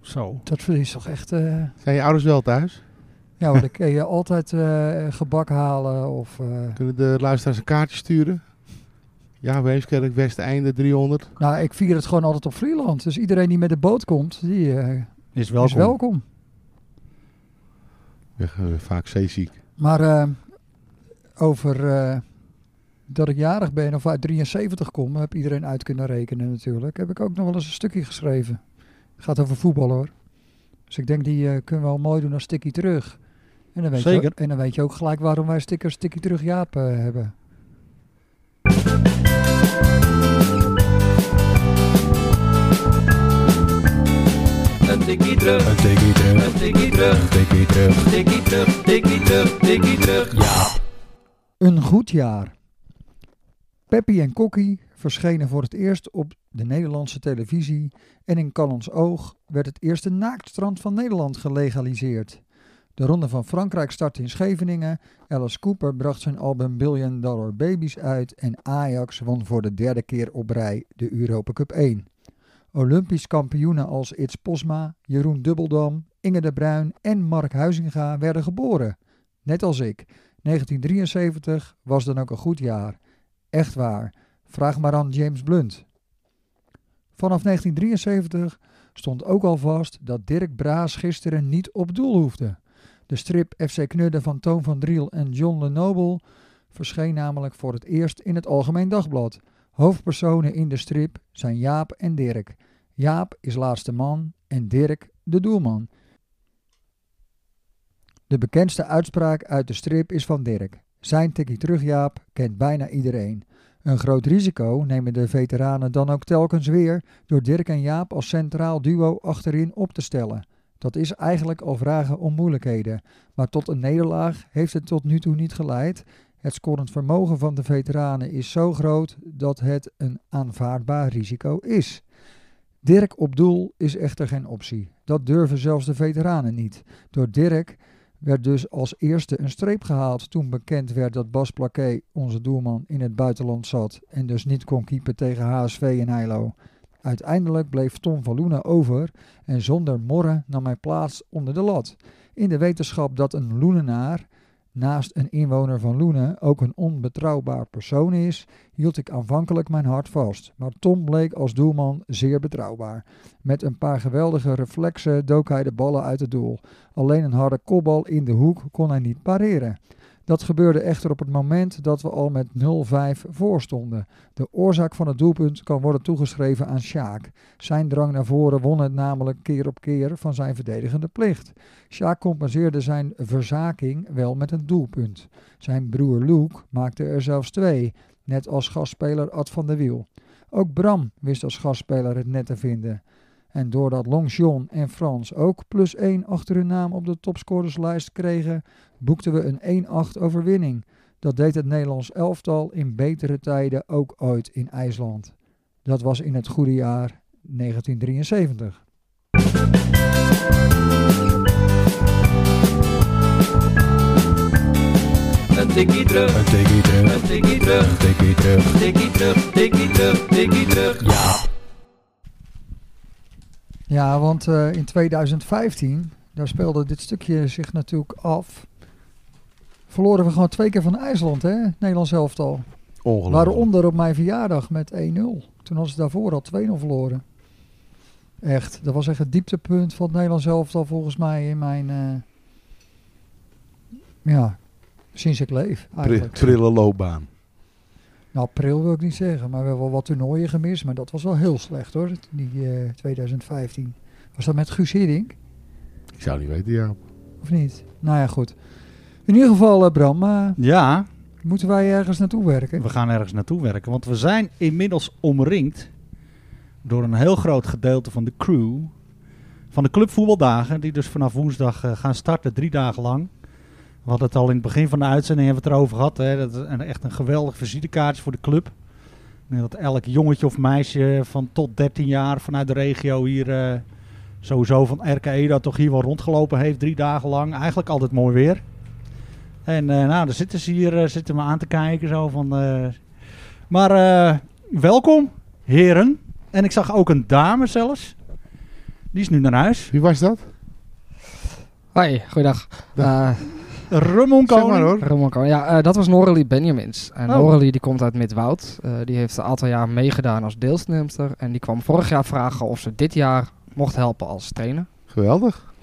S2: Zo.
S1: Dat is toch echt... eh,
S4: Zijn je ouders wel thuis?
S1: ja, want dan kun je altijd eh, gebak halen of... eh,
S4: Kunnen de luisteraars een kaartje sturen? Ja, Weeskerk, Westeinde 300.
S1: nou, ik vier het gewoon altijd op Vlieland. Dus iedereen die met de boot komt, die eh,
S2: Is welkom.
S1: is welkom.
S4: Ik ben, eh, vaak zeeziek.
S1: Maar eh, over eh, dat ik jarig ben of uit 73 kom, heb iedereen uit kunnen rekenen natuurlijk. Heb ik ook nog wel eens een stukje geschreven. Het gaat over voetbal hoor. Dus ik denk die eh, kunnen we wel mooi doen als Stikkie terug. En dan, weet Je,
S2: Zeker.
S1: en dan weet je ook gelijk waarom wij stickers Stikkie terug Jaap eh, hebben.
S5: Een tikkie terug,
S6: Een tikkie terug,
S5: een tikkie terug,
S6: een tikkie terug.
S5: tikkie terug, tikkie terug, tikkie terug.
S6: Ja,
S1: Een goed jaar. Peppy en Kokkie verschenen voor het eerst op de Nederlandse televisie en in Callans Oog werd het eerste naaktstrand van Nederland gelegaliseerd. De Ronde van Frankrijk startte in Scheveningen, Alice Cooper bracht zijn album Billion Dollar Babies uit en Ajax won voor de derde keer op rij de Europa Cup 1. Olympisch kampioenen als Its Posma, Jeroen Dubbeldam, Inge de Bruin en Mark Huizinga werden geboren. Net als ik. 1973 was dan ook een goed jaar. Echt waar. Vraag maar aan James Blunt. Vanaf 1973 stond ook al vast dat Dirk Braas gisteren niet op doel hoefde. De strip FC Knudden van Toon van Driel en John Lenoble verscheen namelijk voor het eerst in het Algemeen Dagblad. Hoofdpersonen in de strip zijn Jaap en Dirk. Jaap is laatste man en Dirk de doelman. De bekendste uitspraak uit de strip is van Dirk. Zijn tikkie terug Jaap kent bijna iedereen. Een groot risico nemen de veteranen dan ook telkens weer door Dirk en Jaap als centraal duo achterin op te stellen. Dat is eigenlijk al vragen om moeilijkheden, maar tot een nederlaag heeft het tot nu toe niet geleid. Het scorend vermogen van de veteranen is zo groot dat het een aanvaardbaar risico is. Dirk op doel is echter geen optie. Dat durven zelfs de veteranen niet. Door Dirk werd dus als eerste een streep gehaald toen bekend werd dat Bas Plaquet, onze doelman, in het buitenland zat en dus niet kon keeper tegen HSV in Heilo. Uiteindelijk bleef Tom van Loenen over en zonder morren nam hij plaats onder de lat. In de wetenschap dat een Loenenaar naast een inwoner van Loenen ook een onbetrouwbaar persoon is, hield ik aanvankelijk mijn hart vast. Maar Tom bleek als doelman zeer betrouwbaar. Met een paar geweldige reflexen dook hij de ballen uit het doel. Alleen een harde kopbal in de hoek kon hij niet pareren. Dat gebeurde echter op het moment dat we al met 0-5 voorstonden. De oorzaak van het doelpunt kan worden toegeschreven aan Sjaak. Zijn drang naar voren won het namelijk keer op keer van zijn verdedigende plicht. Sjaak compenseerde zijn verzaking wel met een doelpunt. Zijn broer Luke maakte er zelfs twee, net als gastspeler Ad van der Wiel. Ook Bram wist als gastspeler het net te vinden. En doordat Longchamp en Frans ook plus 1 achter hun naam op de topscorerslijst kregen, boekten we een 1-8 overwinning. Dat deed het Nederlands elftal in betere tijden ook ooit in IJsland. Dat was in het goede jaar 1973.
S5: Een tikkie terug,
S6: Een tikkie terug,
S5: een tikkie terug,
S6: een tikkie terug.
S5: tikkie terug, tikkie terug, tikkie terug.
S6: Ja,
S1: Ja, want eh, in 2015, daar speelde dit stukje zich natuurlijk af. Verloren we gewoon twee keer van IJsland, hè? Nederlands elftal.
S4: Ongelooflijk.
S1: Waaronder op mijn verjaardag met 1-0. Toen hadden ze daarvoor al 2-0 verloren. Echt, dat was echt het dieptepunt van het Nederlands elftal volgens mij in mijn... eh, ja, sinds ik leef
S4: Pri-
S1: eigenlijk.
S4: prille loopbaan.
S1: Nou, pril wil ik niet zeggen, maar we hebben wel wat toernooien gemist. Maar dat was wel heel slecht hoor, die eh, 2015. Was dat met Guus Hiddink?
S4: Ik zou niet weten, ja.
S1: Of niet? Nou ja, goed. In ieder geval, eh, Bram, eh,
S2: Ja,
S1: moeten wij ergens naartoe werken?
S2: we gaan ergens naartoe werken. Want we zijn inmiddels omringd door een heel groot gedeelte van de crew van de clubvoetbaldagen. Die dus vanaf woensdag eh, gaan starten, drie dagen lang. We hadden het al in het begin van de uitzending hebben we het erover gehad. Hè? Dat is een, echt een geweldig visitekaartje voor de club. Ik denk dat elk jongetje of meisje van tot 13 jaar vanuit de regio hier eh, sowieso van RKE dat toch hier wel rondgelopen heeft. Drie dagen lang. Eigenlijk altijd mooi weer. En eh, nou, dan zitten ze hier, eh, zitten me aan te kijken zo van... eh, maar eh, welkom, heren. En ik zag ook een dame zelfs. Die is nu naar huis.
S4: Wie was dat?
S7: Hoi, goeiedag. Eh
S2: Rummelkoning.
S4: Zeg maar hoor.
S7: Ramon Koning. Ja, eh, dat was Noralie Benjamins. En
S2: Oh.
S7: Noralie die komt uit Midwoud. Eh, die heeft een aantal jaar meegedaan als deelnemster. En die kwam vorig jaar vragen of ze dit jaar mocht helpen als trainer.
S4: Geweldig.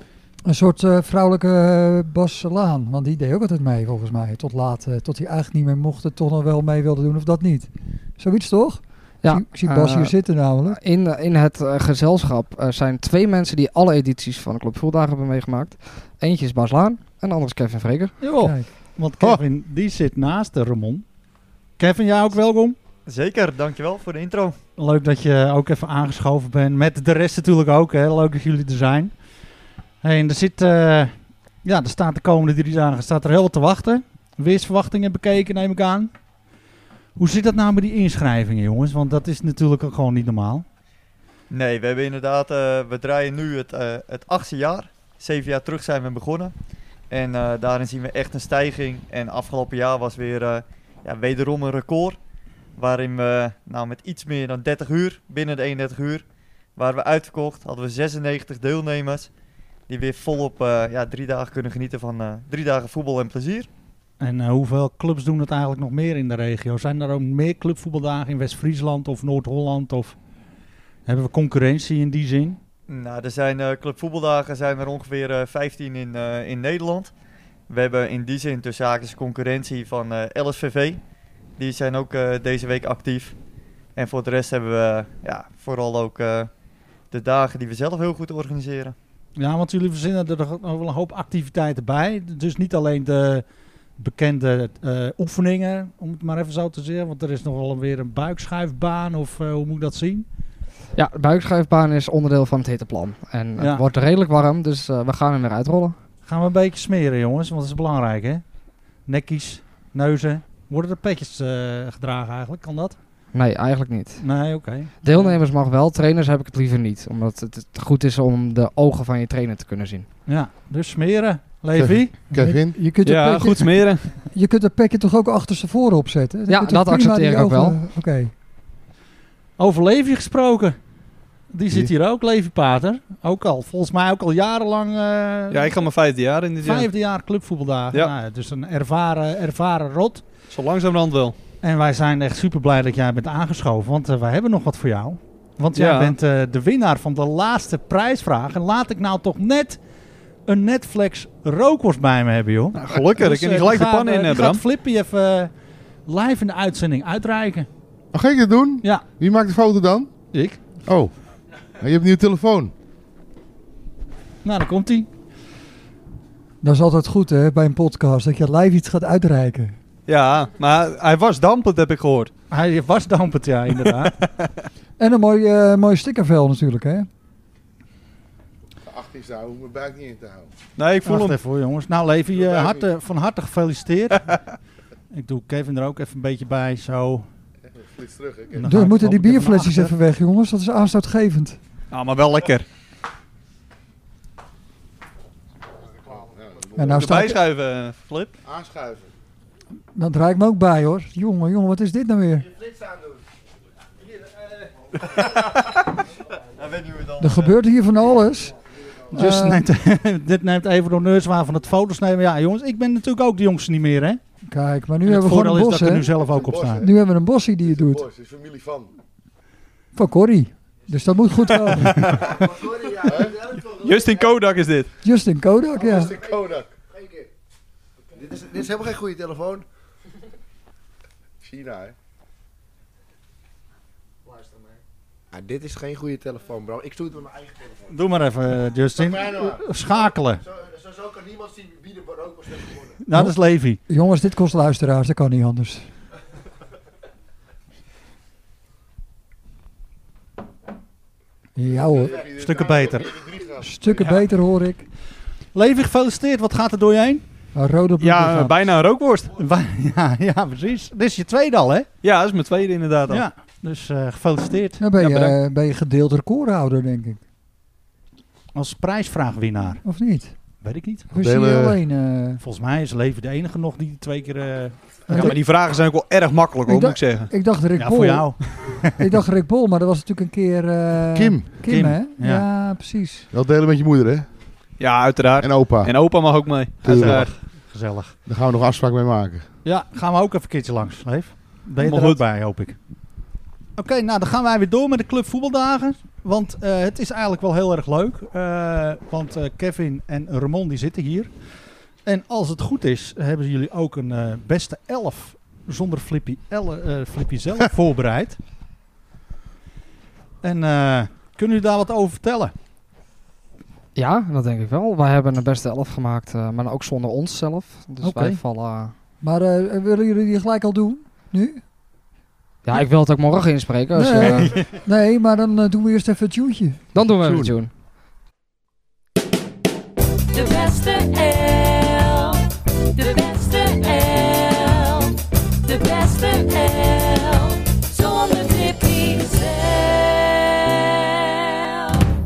S1: Een soort eh, vrouwelijke eh, Bas Laan, want die deed ook altijd mee volgens mij. Tot laat, eh, tot hij eigenlijk niet meer mocht, het toch nog wel mee wilde doen of dat niet. Zoiets toch?
S7: Ja,
S1: Ik zie- ik zie Bas
S7: eh,
S1: hier zitten namelijk.
S7: In, in het eh, gezelschap eh, zijn twee mensen die alle edities van de Club Voeldagen hebben meegemaakt. Eentje is Bas Laan en de andere is Kevin Vreker.
S2: Jawel,
S1: Kijk. Oh.
S2: want Kevin die zit naast de Ramon. Kevin, jij ook welkom.
S8: Zeker, dankjewel voor de intro.
S2: Leuk dat je ook even aangeschoven bent. Met de rest natuurlijk ook. Hè. Leuk dat jullie er zijn. Hey, en er zit, eh, ja, er staat de komende drie dagen staat er heel wat te wachten. Weersverwachtingen bekeken, neem ik aan. Hoe zit dat nou met die inschrijvingen, jongens? Want dat is natuurlijk ook gewoon niet normaal.
S8: Nee, we hebben inderdaad, eh, we draaien nu het, eh, het achtste jaar. Zeven jaar terug zijn we begonnen. En eh, daarin zien we echt een stijging. En afgelopen jaar was weer eh, ja, wederom een record. Waarin we nou, met iets meer dan 30 uur, binnen de 31 uur, waren we uitverkocht. Hadden we 96 deelnemers. Die weer volop eh, ja, drie dagen kunnen genieten van eh, drie dagen voetbal en plezier.
S2: En eh, hoeveel clubs doen het eigenlijk nog meer in de regio? Zijn er ook meer clubvoetbaldagen in West-Friesland of Noord-Holland? Of hebben we concurrentie in die zin?
S8: Nou, er zijn eh clubvoetbaldagen, zijn er ongeveer eh, 15 in, eh, in Nederland. We hebben in die zin tussen haakjes concurrentie van eh, LSVV. Die zijn ook eh, deze week actief. En voor de rest hebben we eh, ja, vooral ook eh, de dagen die we zelf heel goed organiseren.
S2: Ja, want jullie verzinnen er nog wel een hoop activiteiten bij. Dus niet alleen de bekende eh, oefeningen, om het maar even zo te zeggen. Want er is nog wel weer een buikschuifbaan of eh, hoe moet ik dat zien?
S7: Ja, de buikschuifbaan is onderdeel van het hitteplan. En eh,
S2: Ja.
S7: het wordt redelijk warm, dus eh, we gaan hem weer uitrollen.
S2: Gaan we een beetje smeren jongens, want dat is belangrijk hè. Nekkies, neuzen. Worden er petjes eh, gedragen eigenlijk? Kan dat?
S7: Nee, eigenlijk niet.
S2: Nee, oké.
S7: Deelnemers mag wel, trainers heb ik het liever niet. Omdat het het goed is om de ogen van je trainer te kunnen zien.
S2: Ja, dus smeren. Levi?
S4: Kevin?
S1: Je, je kunt
S6: Ja,
S1: het pekje,
S6: goed smeren.
S1: je kunt het pekje toch ook achter ze voren opzetten? Dan
S7: Ja,
S1: kunt het
S7: dat
S1: prima
S7: accepteer
S1: die
S7: ik ook
S1: ogen- Oké.
S2: Over Levi gesproken. Die zit
S4: Wie?
S2: hier ook, Levi Pater. Ook al, volgens mij ook al jarenlang. eh,
S6: Ja, ik ga mijn vijfde jaar in dit jaar.
S2: Vijfde jaar clubvoetbaldagen.
S6: Ja.
S2: Nou, dus een ervaren, ervaren rot.
S6: Zo langzamerhand wel.
S2: En wij zijn echt super blij dat jij bent aangeschoven, want eh, wij hebben nog wat voor jou. Want jij
S6: Ja.
S2: bent eh, de winnaar van de laatste prijsvraag. En laat ik nou toch net een Netflix rookworst bij me hebben, joh.
S6: Nou, gelukkig,
S2: Dus,
S6: ik kan
S2: eh,
S6: niet gelijk
S2: die
S6: de
S2: gaan,
S6: pan
S2: eh,
S6: in,
S2: die
S6: eh,
S2: gaat
S6: Bram.
S2: Flippy even eh, live in de uitzending uitreiken.
S4: Oh, ga ik dat doen?
S2: Ja.
S4: Wie maakt de foto dan?
S2: Ik?
S4: Oh, je hebt een nieuwe telefoon.
S2: Nou, dan komt hij.
S1: Dat is altijd goed hè, bij een podcast, dat je live iets gaat uitreiken.
S6: Ja, maar hij was dampend, heb ik gehoord.
S2: Hij was dampend, ja, inderdaad.
S1: En een mooi, eh mooi stickervel natuurlijk hè.
S4: Achter is te houden, mijn buik niet in te houden.
S6: Nee, ik voel
S2: Wacht
S6: hem.
S2: even hoor, jongens. Nou, Levi,
S4: Doe
S2: eh,
S4: het
S2: harte-
S4: even.
S2: van harte gefeliciteerd. ik doe Kevin er ook even een beetje bij, zo.
S4: Flits terug, hè?
S2: Dan ga
S1: We
S2: ik
S1: moeten die
S2: loop ik even naar
S1: bierflesjes
S2: achter.
S1: even weg jongens, dat is aanstootgevend.
S6: Ja, maar wel lekker.
S1: En nou
S6: Erbij
S1: staat,
S6: schuiven, eh, Flip.
S4: Aanschuiven.
S1: dan draai ik me ook bij hoor. Jongen, jongen, wat is dit nou weer?
S8: Ja, weet niet hoe het dan...
S1: Er gebeurt hier van alles.
S2: Dus
S1: Eh,
S2: neemt, dit neemt even de honneurs waar van het foto's nemen. Ja, jongens, ik ben natuurlijk ook de jongste niet meer, hè? En
S1: Kijk, maar nu
S2: het
S1: hebben we
S2: voordeel
S1: gewoon een
S2: is
S1: bos
S2: dat ik er
S1: hè.
S2: nu zelf ook op
S4: Bos,
S2: sta.
S4: hè?
S1: Nu hebben we een bossie die het doet.
S4: is familie van.
S1: Van Corrie. Dus dat moet goed komen.
S6: Justin Kodak is dit.
S1: Justin Kodak, ja.
S4: de Kodak.
S9: Dit is, dit is helemaal geen goede telefoon.
S4: China, hè?
S9: Luister maar. Ah, dit is geen goede telefoon, bro. Ik stuur het met mijn eigen telefoon.
S2: Doe maar even, eh, Justin.
S9: Doe mij nou
S2: Schakelen.
S9: Zo, zo, zo kan niemand zien wie de rook was geworden.
S2: Nou, dat is Levi.
S1: Jongens, dit kost luisteraars, dat kan niet anders. Ja hoor,
S2: Stukken beter.
S1: stukken beter hoor ik.
S2: Levi, gefeliciteerd. Wat gaat er door je heen?
S1: Een rode bloed
S6: Ja, eh, bijna een rookworst.
S2: Wa- Ja, ja, precies. Dit is je tweede al, hè?
S6: Ja, dat is mijn tweede inderdaad al.
S2: Ja. Dus eh, gefeliciteerd
S1: Dan ben je,
S6: Ja, bedankt.
S1: eh, ben je gedeeld recordhouder, denk ik.
S2: als prijsvraagwinnaar.
S1: Of niet?
S2: Weet ik niet.
S1: We zien
S4: Delen-
S1: alleen. eh,
S2: Volgens mij is Levi de enige nog die twee keer... eh,
S6: Ja, maar die vragen zijn ook wel erg makkelijk, hoor,
S1: Ik
S6: moet ik zeggen.
S1: ik dacht Rick
S2: ja,
S1: Bol.
S2: voor jou.
S1: Ik dacht Rick Bol, maar dat was natuurlijk een keer. eh,
S4: Kim,
S1: Kim,
S2: Kim,
S1: hè?
S2: ja.
S1: Ja. precies.
S4: wel delen met je moeder, hè?
S6: Ja, uiteraard.
S4: En opa.
S6: En opa mag ook mee.
S4: Tuurlijk.
S6: Uiteraard.
S2: Gezellig.
S4: Daar gaan we nog afspraak mee maken.
S2: Ja, gaan we ook even een keertje langs, Leef. Ben je
S6: Helemaal
S2: er ook
S6: goed.
S2: bij, hoop ik. Oké, nou dan gaan wij weer door met de Club Voetbaldagen. Want eh, het is eigenlijk wel heel erg leuk. Eh, want eh, Kevin en Ramon die zitten hier. En als het goed is, hebben jullie ook een eh, beste elf zonder Flippy, elle, eh, Flippy zelf voorbereid. En eh, kunnen jullie daar wat over vertellen?
S7: Ja, dat denk ik wel. Wij hebben een beste elf gemaakt, eh, maar dan ook zonder ons zelf. Dus
S2: Oké.
S7: wij vallen... eh,
S1: Maar eh, willen jullie die gelijk al doen? Nu?
S7: ja, ik wil het ook morgen inspreken. Als,
S1: Nee.
S7: eh,
S1: Nee, maar dan eh, doen we eerst even het tuintje.
S7: dan doen we het, June.
S10: De beste elf. De beste elf. De beste elf. Zonder Tippy zelf.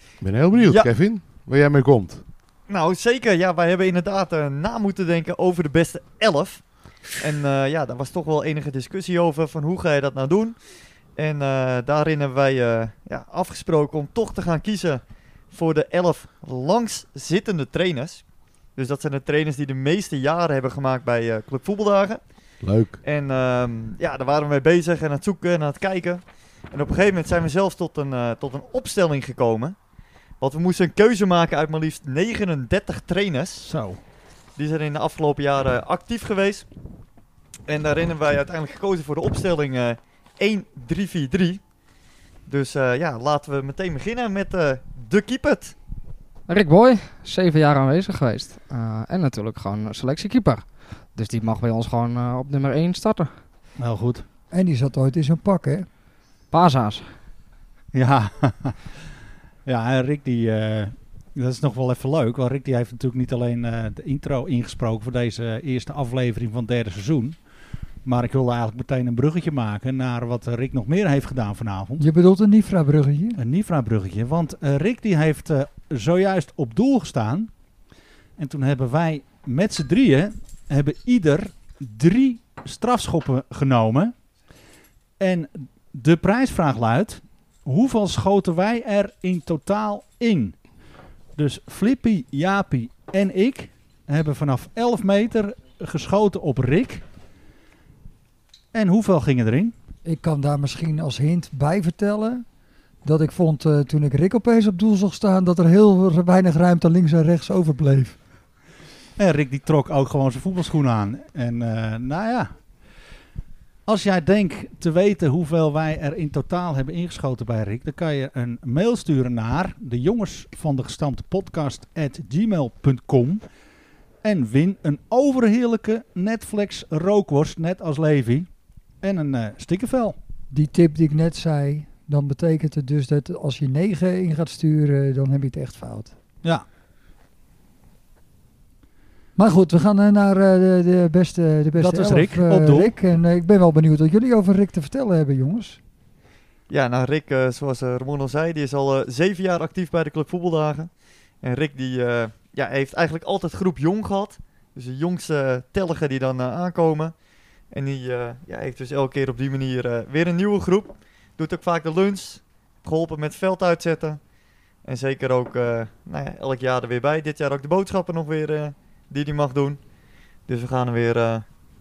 S4: Ik ben heel benieuwd,
S8: Ja.
S4: Kevin, waar jij mee komt.
S8: Nou, zeker. Ja, wij hebben inderdaad eh, na moeten denken over de beste elf. En eh, ja, daar was toch wel enige discussie over van hoe ga je dat nou doen. En eh, daarin hebben wij eh, ja, afgesproken om toch te gaan kiezen voor de elf langszittende trainers. Dus dat zijn de trainers die de meeste jaren hebben gemaakt bij eh, Club Voetbaldagen.
S4: Leuk.
S8: En ehm, ja, daar waren we mee bezig en aan het zoeken en aan het kijken. En op een gegeven moment zijn we zelfs tot een, eh, tot een opstelling gekomen. Want we moesten een keuze maken uit maar liefst 39 trainers.
S2: Zo.
S8: Die zijn in de afgelopen jaren actief geweest. En daarin hebben wij uiteindelijk gekozen voor de opstelling eh 1-3-4-3. Dus eh, ja, laten we meteen beginnen met eh, de keeper.
S7: Rick Boy, zeven jaar aanwezig geweest. Eh, en natuurlijk gewoon selectiekeeper. Dus die mag bij ons gewoon eh, op nummer 1 starten.
S2: Heel goed.
S1: En die zat ooit in zijn pak, hè?
S7: Paza's.
S2: Ja, ja en Rick die... eh, dat is nog wel even leuk, want Rick die heeft natuurlijk niet alleen eh, de intro ingesproken voor deze eerste aflevering van het derde seizoen. Maar ik wilde eigenlijk meteen een bruggetje maken naar wat eh, Rick nog meer heeft gedaan vanavond.
S1: Je bedoelt een Nifra-bruggetje?
S2: Een Nifra-bruggetje. Want eh, Rick die heeft eh, zojuist op doel gestaan. En toen hebben wij met z'n drieën, hebben ieder drie strafschoppen genomen. En de prijsvraag luidt, hoeveel schoten wij er in totaal in? Dus Flippy, Jaapie en ik hebben vanaf 11 meter geschoten op Rick. En hoeveel gingen erin?
S1: Ik kan daar misschien als hint bij vertellen dat ik vond eh, toen ik Rick opeens op doel zag staan dat er heel weinig ruimte links en rechts overbleef.
S2: En Rick die trok ook gewoon zijn voetbalschoenen aan. En eh, nou ja, als jij denkt te weten hoeveel wij er in totaal hebben ingeschoten bij Rick, dan kan je een mail sturen naar de jongens van de gestampte podcast at gmail.com en win een overheerlijke Netflix rookworst, net als Levi, en een eh stikkenvel.
S1: Die tip die ik net zei, dan betekent het dus dat als je 9 in gaat sturen, dan heb je het echt fout.
S2: Ja.
S1: Maar goed, we gaan eh, naar eh, de, de beste de beste
S2: Dat was
S1: elf,
S2: Rick,
S1: eh,
S2: op doel.
S1: Rick. En eh, ik ben wel benieuwd wat jullie over Rick te vertellen hebben, jongens.
S8: Ja, nou Rick, eh, zoals eh, Ramon al zei, die is al eh, zeven jaar actief bij de Club Voetbaldagen. En Rick die, eh, ja, heeft eigenlijk altijd groep jong gehad. Dus de jongste telligen die dan eh, aankomen. En die eh, ja, heeft dus elke keer op die manier eh, weer een nieuwe groep. Doet ook vaak de lunch. Heeft Geholpen met veld uitzetten. En zeker ook eh, nou ja, elk jaar er weer bij. Dit jaar ook de boodschappen nog weer eh, die hij mag doen. Dus we gaan er weer eh,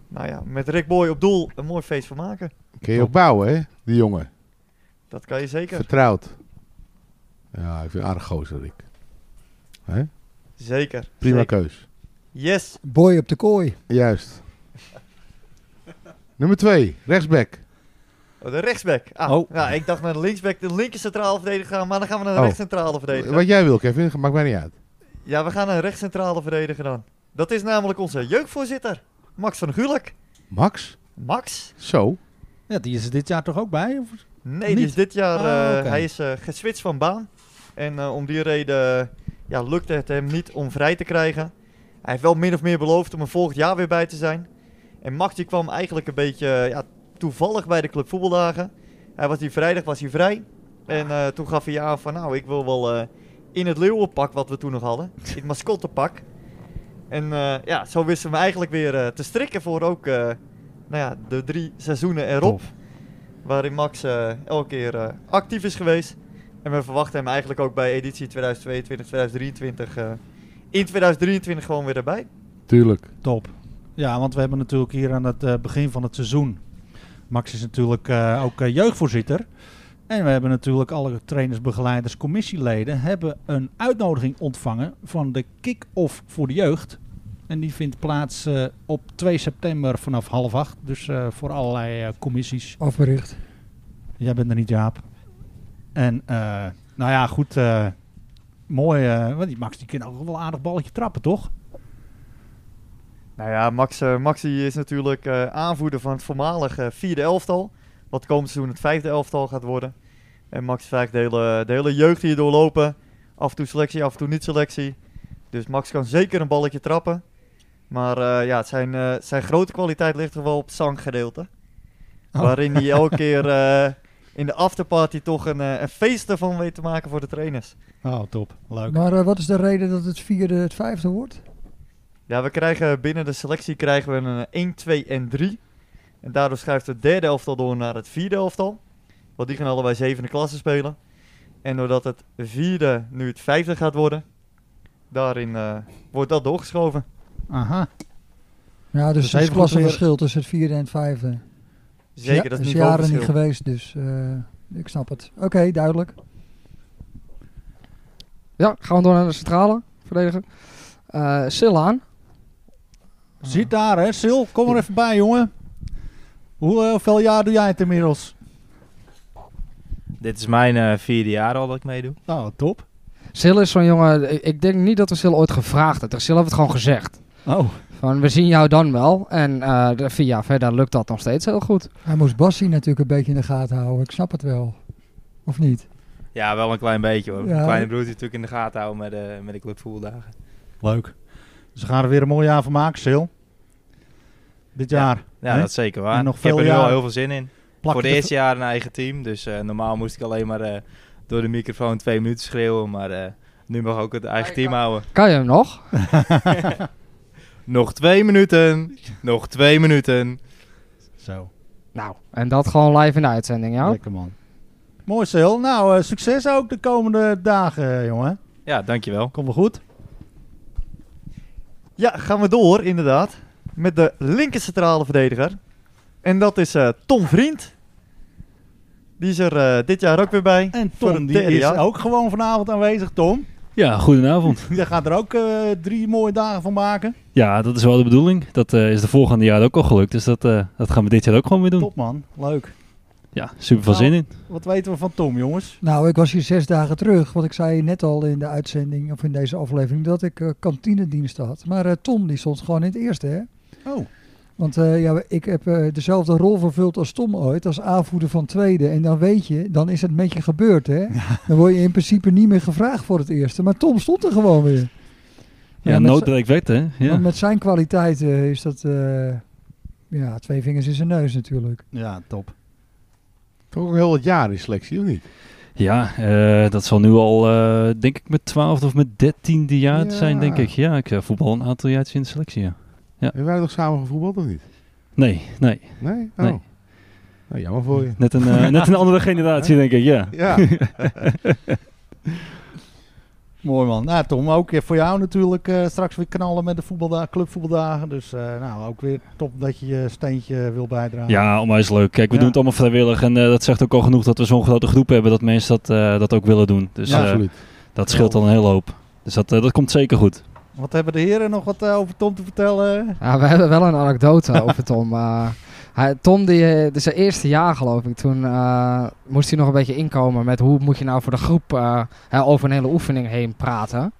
S8: nou ja, met Rick Boy op doel een mooi feest van maken.
S4: Kun je opbouwen, hè, die jongen.
S8: Dat kan je zeker.
S4: Vertrouwd. Ja, ik vind het aardig gozer, Rick. Hè?
S8: Zeker.
S4: Prima
S8: zeker.
S4: keus.
S8: Yes.
S1: Boy op de kooi.
S4: Juist. Nummer 2, rechtsback.
S8: Oh, de rechtsback. Ah,
S4: Oh.
S8: ja, ik dacht naar de linksback, de linker centrale verdediger gaan, maar dan gaan we naar de
S4: Oh.
S8: rechtscentrale verdediger.
S4: Wat jij wil, Kevin, maakt mij niet uit.
S8: Ja, we gaan naar de rechtscentrale verdediger dan. Dat is namelijk onze jeugdvoorzitter, Max van Gulik.
S4: Max?
S8: Max?
S4: Zo.
S2: Ja, die is er dit jaar toch ook bij? Of
S8: Nee,
S2: niet?
S8: die is dit jaar,
S2: Ah,
S8: eh,
S2: oké.
S8: hij is eh geswitcht van baan. En eh, om die reden eh, ja, lukte het hem niet om vrij te krijgen. Hij heeft wel min of meer beloofd om er volgend jaar weer bij te zijn. En Max die kwam eigenlijk een beetje eh, ja, toevallig bij de club voetbaldagen. Hij was die vrijdag was hij vrij. En eh, toen gaf hij aan van nou, ik wil wel eh, in het leeuwenpak wat we toen nog hadden. Het mascottepak. En eh, ja, zo wisten we hem eigenlijk weer eh, te strikken voor ook eh, nou ja, de drie seizoenen erop. Waarin Max eh, elke keer eh, actief is geweest. En we verwachten hem eigenlijk ook bij editie 2022, 2023. eh, in 2023 gewoon weer erbij.
S4: Tuurlijk.
S2: Top. Ja, want we hebben natuurlijk hier aan het eh, begin van het seizoen. Max is natuurlijk eh, ook eh, jeugdvoorzitter. En we hebben natuurlijk alle trainers, begeleiders, commissieleden hebben een uitnodiging ontvangen van de kick-off voor de jeugd. En die vindt plaats eh, op 2 september vanaf half acht. Dus eh, voor allerlei eh, commissies.
S1: Afbericht.
S2: Jij bent er niet, Jaap. En eh, nou ja, goed. eh, mooi. eh, want die Max die kan ook wel een aardig balletje trappen, toch?
S8: Nou ja, Max, eh, Max die is natuurlijk eh, aanvoerder van het voormalige vierde elftal. Wat komend seizoen het vijfde elftal gaat worden. En Max is eigenlijk de hele, de hele jeugd hier doorlopen. Af en toe selectie, af en toe niet selectie. Dus Max kan zeker een balletje trappen. Maar eh, ja, zijn, eh, zijn grote kwaliteit ligt toch wel op het zanggedeelte.
S11: Oh.
S8: Waarin hij elke keer eh, in de afterparty toch een, eh, een feest ervan weet te maken voor de trainers.
S2: Oh, top. Leuk.
S1: Maar eh, wat is de reden dat het vierde het vijfde wordt?
S8: Ja, we krijgen binnen de selectie krijgen we een eh, 1, 2 en 3. En daardoor schuift het derde elftal door naar het vierde elftal. Want die gaan allebei zevende klasse spelen. En doordat het vierde nu het vijfde gaat worden, daarin eh, wordt dat doorgeschoven.
S2: Aha.
S1: Ja, dus,
S8: Dus
S1: het is
S8: even goed
S1: klassenverschil tussen het vierde en het vijfde.
S8: Zeker,
S1: ja,
S8: dat is
S1: is jaren
S8: niveauverschil.
S1: niet geweest, dus eh, ik snap het. Oké, duidelijk.
S7: Ja, gaan we door naar de centrale verdediger. Eh Silaan.
S2: Zit daar, hè, Sil? Kom er even bij, jongen. Hoe- eh, Hoeveel jaar doe jij het inmiddels?
S11: Dit is mijn eh, vierde jaar al dat ik meedoe.
S2: Oh, top.
S7: Sil is zo'n jongen, ik- ik denk niet dat we Sil ooit gevraagd hebben. Sil heeft het gewoon gezegd.
S2: Oh.
S7: Van, we zien jou dan wel. En eh de- vier jaar verder lukt dat nog steeds heel goed.
S1: Hij moest Bassie natuurlijk een beetje in de gaten houden. Ik snap het wel. Of niet?
S11: Ja, wel een klein beetje hoor.
S1: Ja.
S11: Mijn kleine broertje natuurlijk in de gaten houden met, de met de clubvoetbaldagen.
S2: Leuk. Ze gaan er weer een mooi jaar van maken, Sil. dit jaar.
S11: Ja,
S2: hè?
S11: dat is zeker waar.
S2: En nog
S11: ik heb
S2: veel
S11: er nu al
S2: jaren.
S11: heel veel zin in.
S2: Plak
S11: Voor
S2: het
S11: het eerste jaar een eigen team. Dus eh, normaal moest ik alleen maar eh, door de microfoon twee minuten schreeuwen. Maar eh, nu mag ook het eigen team houden.
S7: Kan je hem nog?
S11: Nog twee minuten. Nog twee minuten.
S2: Zo.
S7: Nou. En dat gewoon live in de uitzending, ja?
S2: Lekker man. Mooi Sil. Nou, eh, succes ook de komende dagen, eh, jongen.
S11: Ja, dankjewel.
S2: Komt wel goed.
S8: Ja, gaan we door inderdaad. Met de linker centrale verdediger. En dat is eh, Tom Vriend. Die is er eh, dit jaar ook weer bij.
S2: En
S8: Voor het
S2: Tom die
S8: derde
S2: is
S8: jaar.
S2: ook gewoon vanavond aanwezig, Tom.
S12: Ja, Ah, goedenavond.
S2: Jij gaat er ook eh, drie mooie dagen van maken.
S12: Ja, dat is wel de bedoeling. Dat eh, is de voorgaande jaar ook al gelukt. Dus dat, eh, dat gaan we dit jaar ook gewoon weer doen.
S2: Top man, leuk.
S12: Ja, super veel zin in.
S2: Nou, Wat weten we van Tom, jongens?
S1: Nou, ik was hier zes dagen terug, want ik zei net al in de uitzending of in deze aflevering dat ik eh, kantinedienst had. Maar eh, Tom die stond gewoon in het eerste, hè?
S2: Oh.
S1: Want eh, ja, ik heb eh, dezelfde rol vervuld als Tom ooit, als aanvoerder van tweede. En dan weet je, dan is het met je gebeurd, hè? Dan word je in principe niet meer gevraagd voor het eerste. Maar Tom stond er gewoon weer. Nou,
S12: Ja,
S1: met
S12: nood
S1: z'n-
S12: breekt wet, hè? Ja.
S1: Want met zijn kwaliteiten is dat eh, ja, twee vingers in zijn neus natuurlijk.
S2: Ja, top.
S4: Toch ook heel wat jaar in selectie, of niet?
S12: Ja, eh, dat zal nu al, eh, denk ik, met twaalfde of met dertiende jaar zijn, denk ik. Ja, ik eh, voetbal een aantal jaartjes in de selectie, ja.
S4: Hebben wij nog samen gevoetbald of niet?
S12: Nee, nee.
S4: Nee? Oh.
S12: Nee.
S4: Nou, jammer voor je.
S12: Net een, eh, net een andere generatie, denk ik, ja.
S4: Ja.
S2: Mooi man. Nou Tom, ook eh, voor jou natuurlijk eh, straks weer knallen met de voetbalda- clubvoetbaldagen. Dus eh, nou, ook weer top dat je je steentje wil bijdragen.
S12: Ja, onwijs leuk. Kijk, we
S2: Ja.
S12: doen het allemaal vrijwillig. En eh, dat zegt ook al genoeg dat we zo'n grote groep hebben dat mensen dat, eh, dat ook willen doen. Dus
S2: Ja.
S12: eh,
S2: Absoluut.
S12: dat scheelt al een hele hoop. Dus dat, eh, dat komt zeker goed.
S2: Wat hebben de heren nog wat eh, over Tom te vertellen?
S7: Ja, we hebben wel een anekdote over Tom. Eh, hij, Tom, die, eh, dus zijn eerste jaar geloof ik, toen eh, moest hij nog een beetje inkomen met hoe moet je nou voor de groep eh, hè, over een hele oefening heen praten.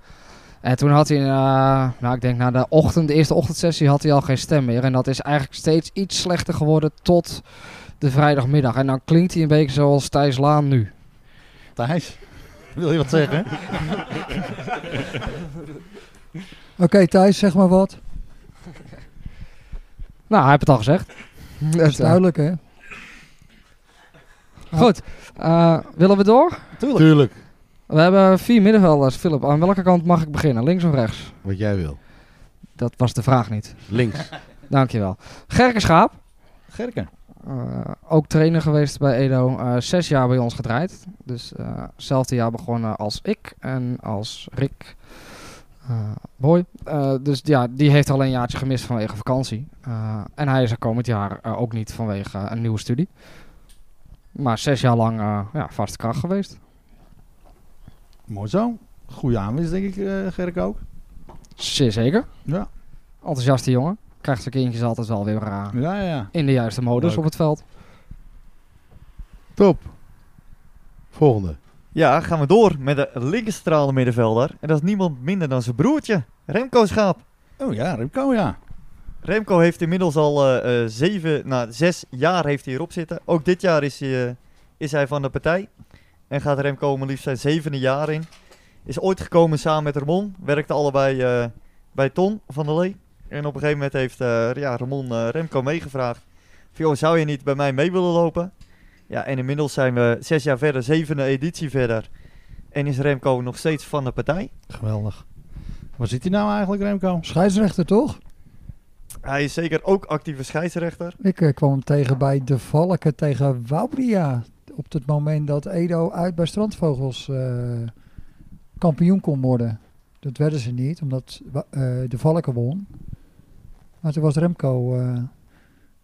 S7: En toen had hij, eh, nou ik denk na de ochtend, de eerste ochtendsessie had hij al geen stem meer. En dat is eigenlijk steeds iets slechter geworden tot de vrijdagmiddag. En dan klinkt hij een beetje zoals Thijs Laan nu.
S2: Thijs, wil je wat zeggen?
S1: Oké, Thijs, zeg maar wat.
S7: Nou, hij heeft het al gezegd.
S1: Dat is duidelijk, hè?
S7: Goed, eh, willen we door?
S2: Tuurlijk.
S4: Tuurlijk.
S7: We hebben vier middenvelders. Philip, aan welke kant mag ik beginnen? Links of rechts?
S4: Wat jij wil.
S7: Dat was de vraag niet.
S4: Links.
S7: Dankjewel. Gerke Schaap.
S2: Gerken.
S7: eh, ook trainer geweest bij Edo. eh, zes jaar bij ons gedraaid. Dus eh zelfde jaar begonnen als ik en als Rick. eh, Boy. Eh, dus ja, die heeft al een jaartje gemist vanwege vakantie. Eh, en hij is er komend jaar eh, ook niet vanwege eh, een nieuwe studie. Maar zes jaar lang eh ja, vaste kracht geweest.
S2: Mooi zo. Goeie aanwinst, denk ik, eh, Gerk ook.
S7: Zeer zeker.
S2: Ja.
S7: Enthousiaste jongen. Krijgt zijn kindjes altijd wel weer eh,
S2: Ja, ja.
S7: in de juiste modus
S2: Leuk.
S7: op het veld.
S4: Top. Volgende.
S8: Ja, gaan we door met de linkercentrale middenvelder. En dat is niemand minder dan zijn broertje, Remco Schaap.
S2: Oh ja, Remco ja.
S8: Remco heeft inmiddels al eh, eh, zeven, nou, zes jaar heeft hij erop zitten. Ook dit jaar is hij, eh, is hij van de partij. En gaat Remco maar liefst zijn zevende jaar in. Is ooit gekomen samen met Ramon. Werkte allebei eh, bij Ton van der Lee. En op een gegeven moment heeft eh, ja, Ramon eh, Remco meegevraagd. Van, "Joh, zou je niet bij mij mee willen lopen? Ja, en inmiddels zijn we zes jaar verder, zevende editie verder. En is Remco nog steeds van de partij.
S2: Geweldig. Waar zit hij nou eigenlijk, Remco?
S1: Scheidsrechter, toch?
S8: Hij is zeker ook actieve scheidsrechter.
S1: Ik eh, kwam hem tegen bij De Valken tegen Wauwria. Op het moment dat Edo uit bij Strandvogels eh, kampioen kon worden. Dat werden ze niet, omdat Wa- eh, De Valken won. Maar toen was Remco eh,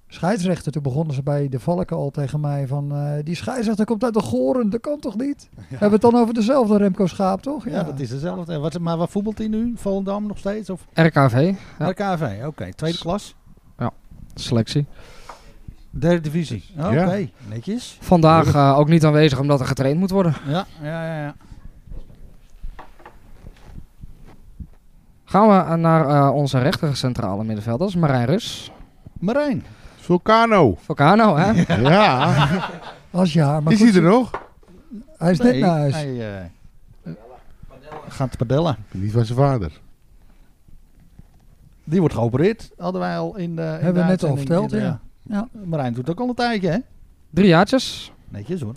S1: scheidsrechter. Toen begonnen ze bij De Valken al tegen mij van... eh, die scheidsrechter komt uit de Goren, dat kan toch niet? Hebben we het dan over dezelfde Remco Schaap, toch?
S2: Ja, dat is dezelfde. En Wat, maar waar voetbalt hij nu? Volendam nog steeds? Of?
S7: RKV. Ja,
S2: RKV, oké. Tweede klas.
S7: selectie.
S2: Derde divisie. Oké,
S7: Ja.
S2: netjes.
S7: Vandaag eh, ook niet aanwezig omdat er getraind moet worden.
S2: Ja, ja, ja. ja.
S7: Gaan we eh, naar eh, onze rechter centrale middenveld. Dat is Marijn Rus.
S2: Marijn.
S4: Vulcano.
S7: Vulcano, hè?
S4: Ja.
S1: Als je haar maar
S4: Is
S1: goed
S4: hij er
S1: ziet-
S4: nog?
S1: Hij is net
S2: Nee,
S1: naar huis.
S2: Hij eh, gaat padellen.
S4: Niet van zijn vader.
S2: Die wordt geopereerd, hadden wij al in de. in
S1: Hebben we
S2: de
S1: net al
S2: uitzending
S1: verteld,
S2: hier,
S1: ja.
S2: Marijn doet ook al een tijdje, hè?
S7: Drie jaartjes.
S2: Netjes hoor.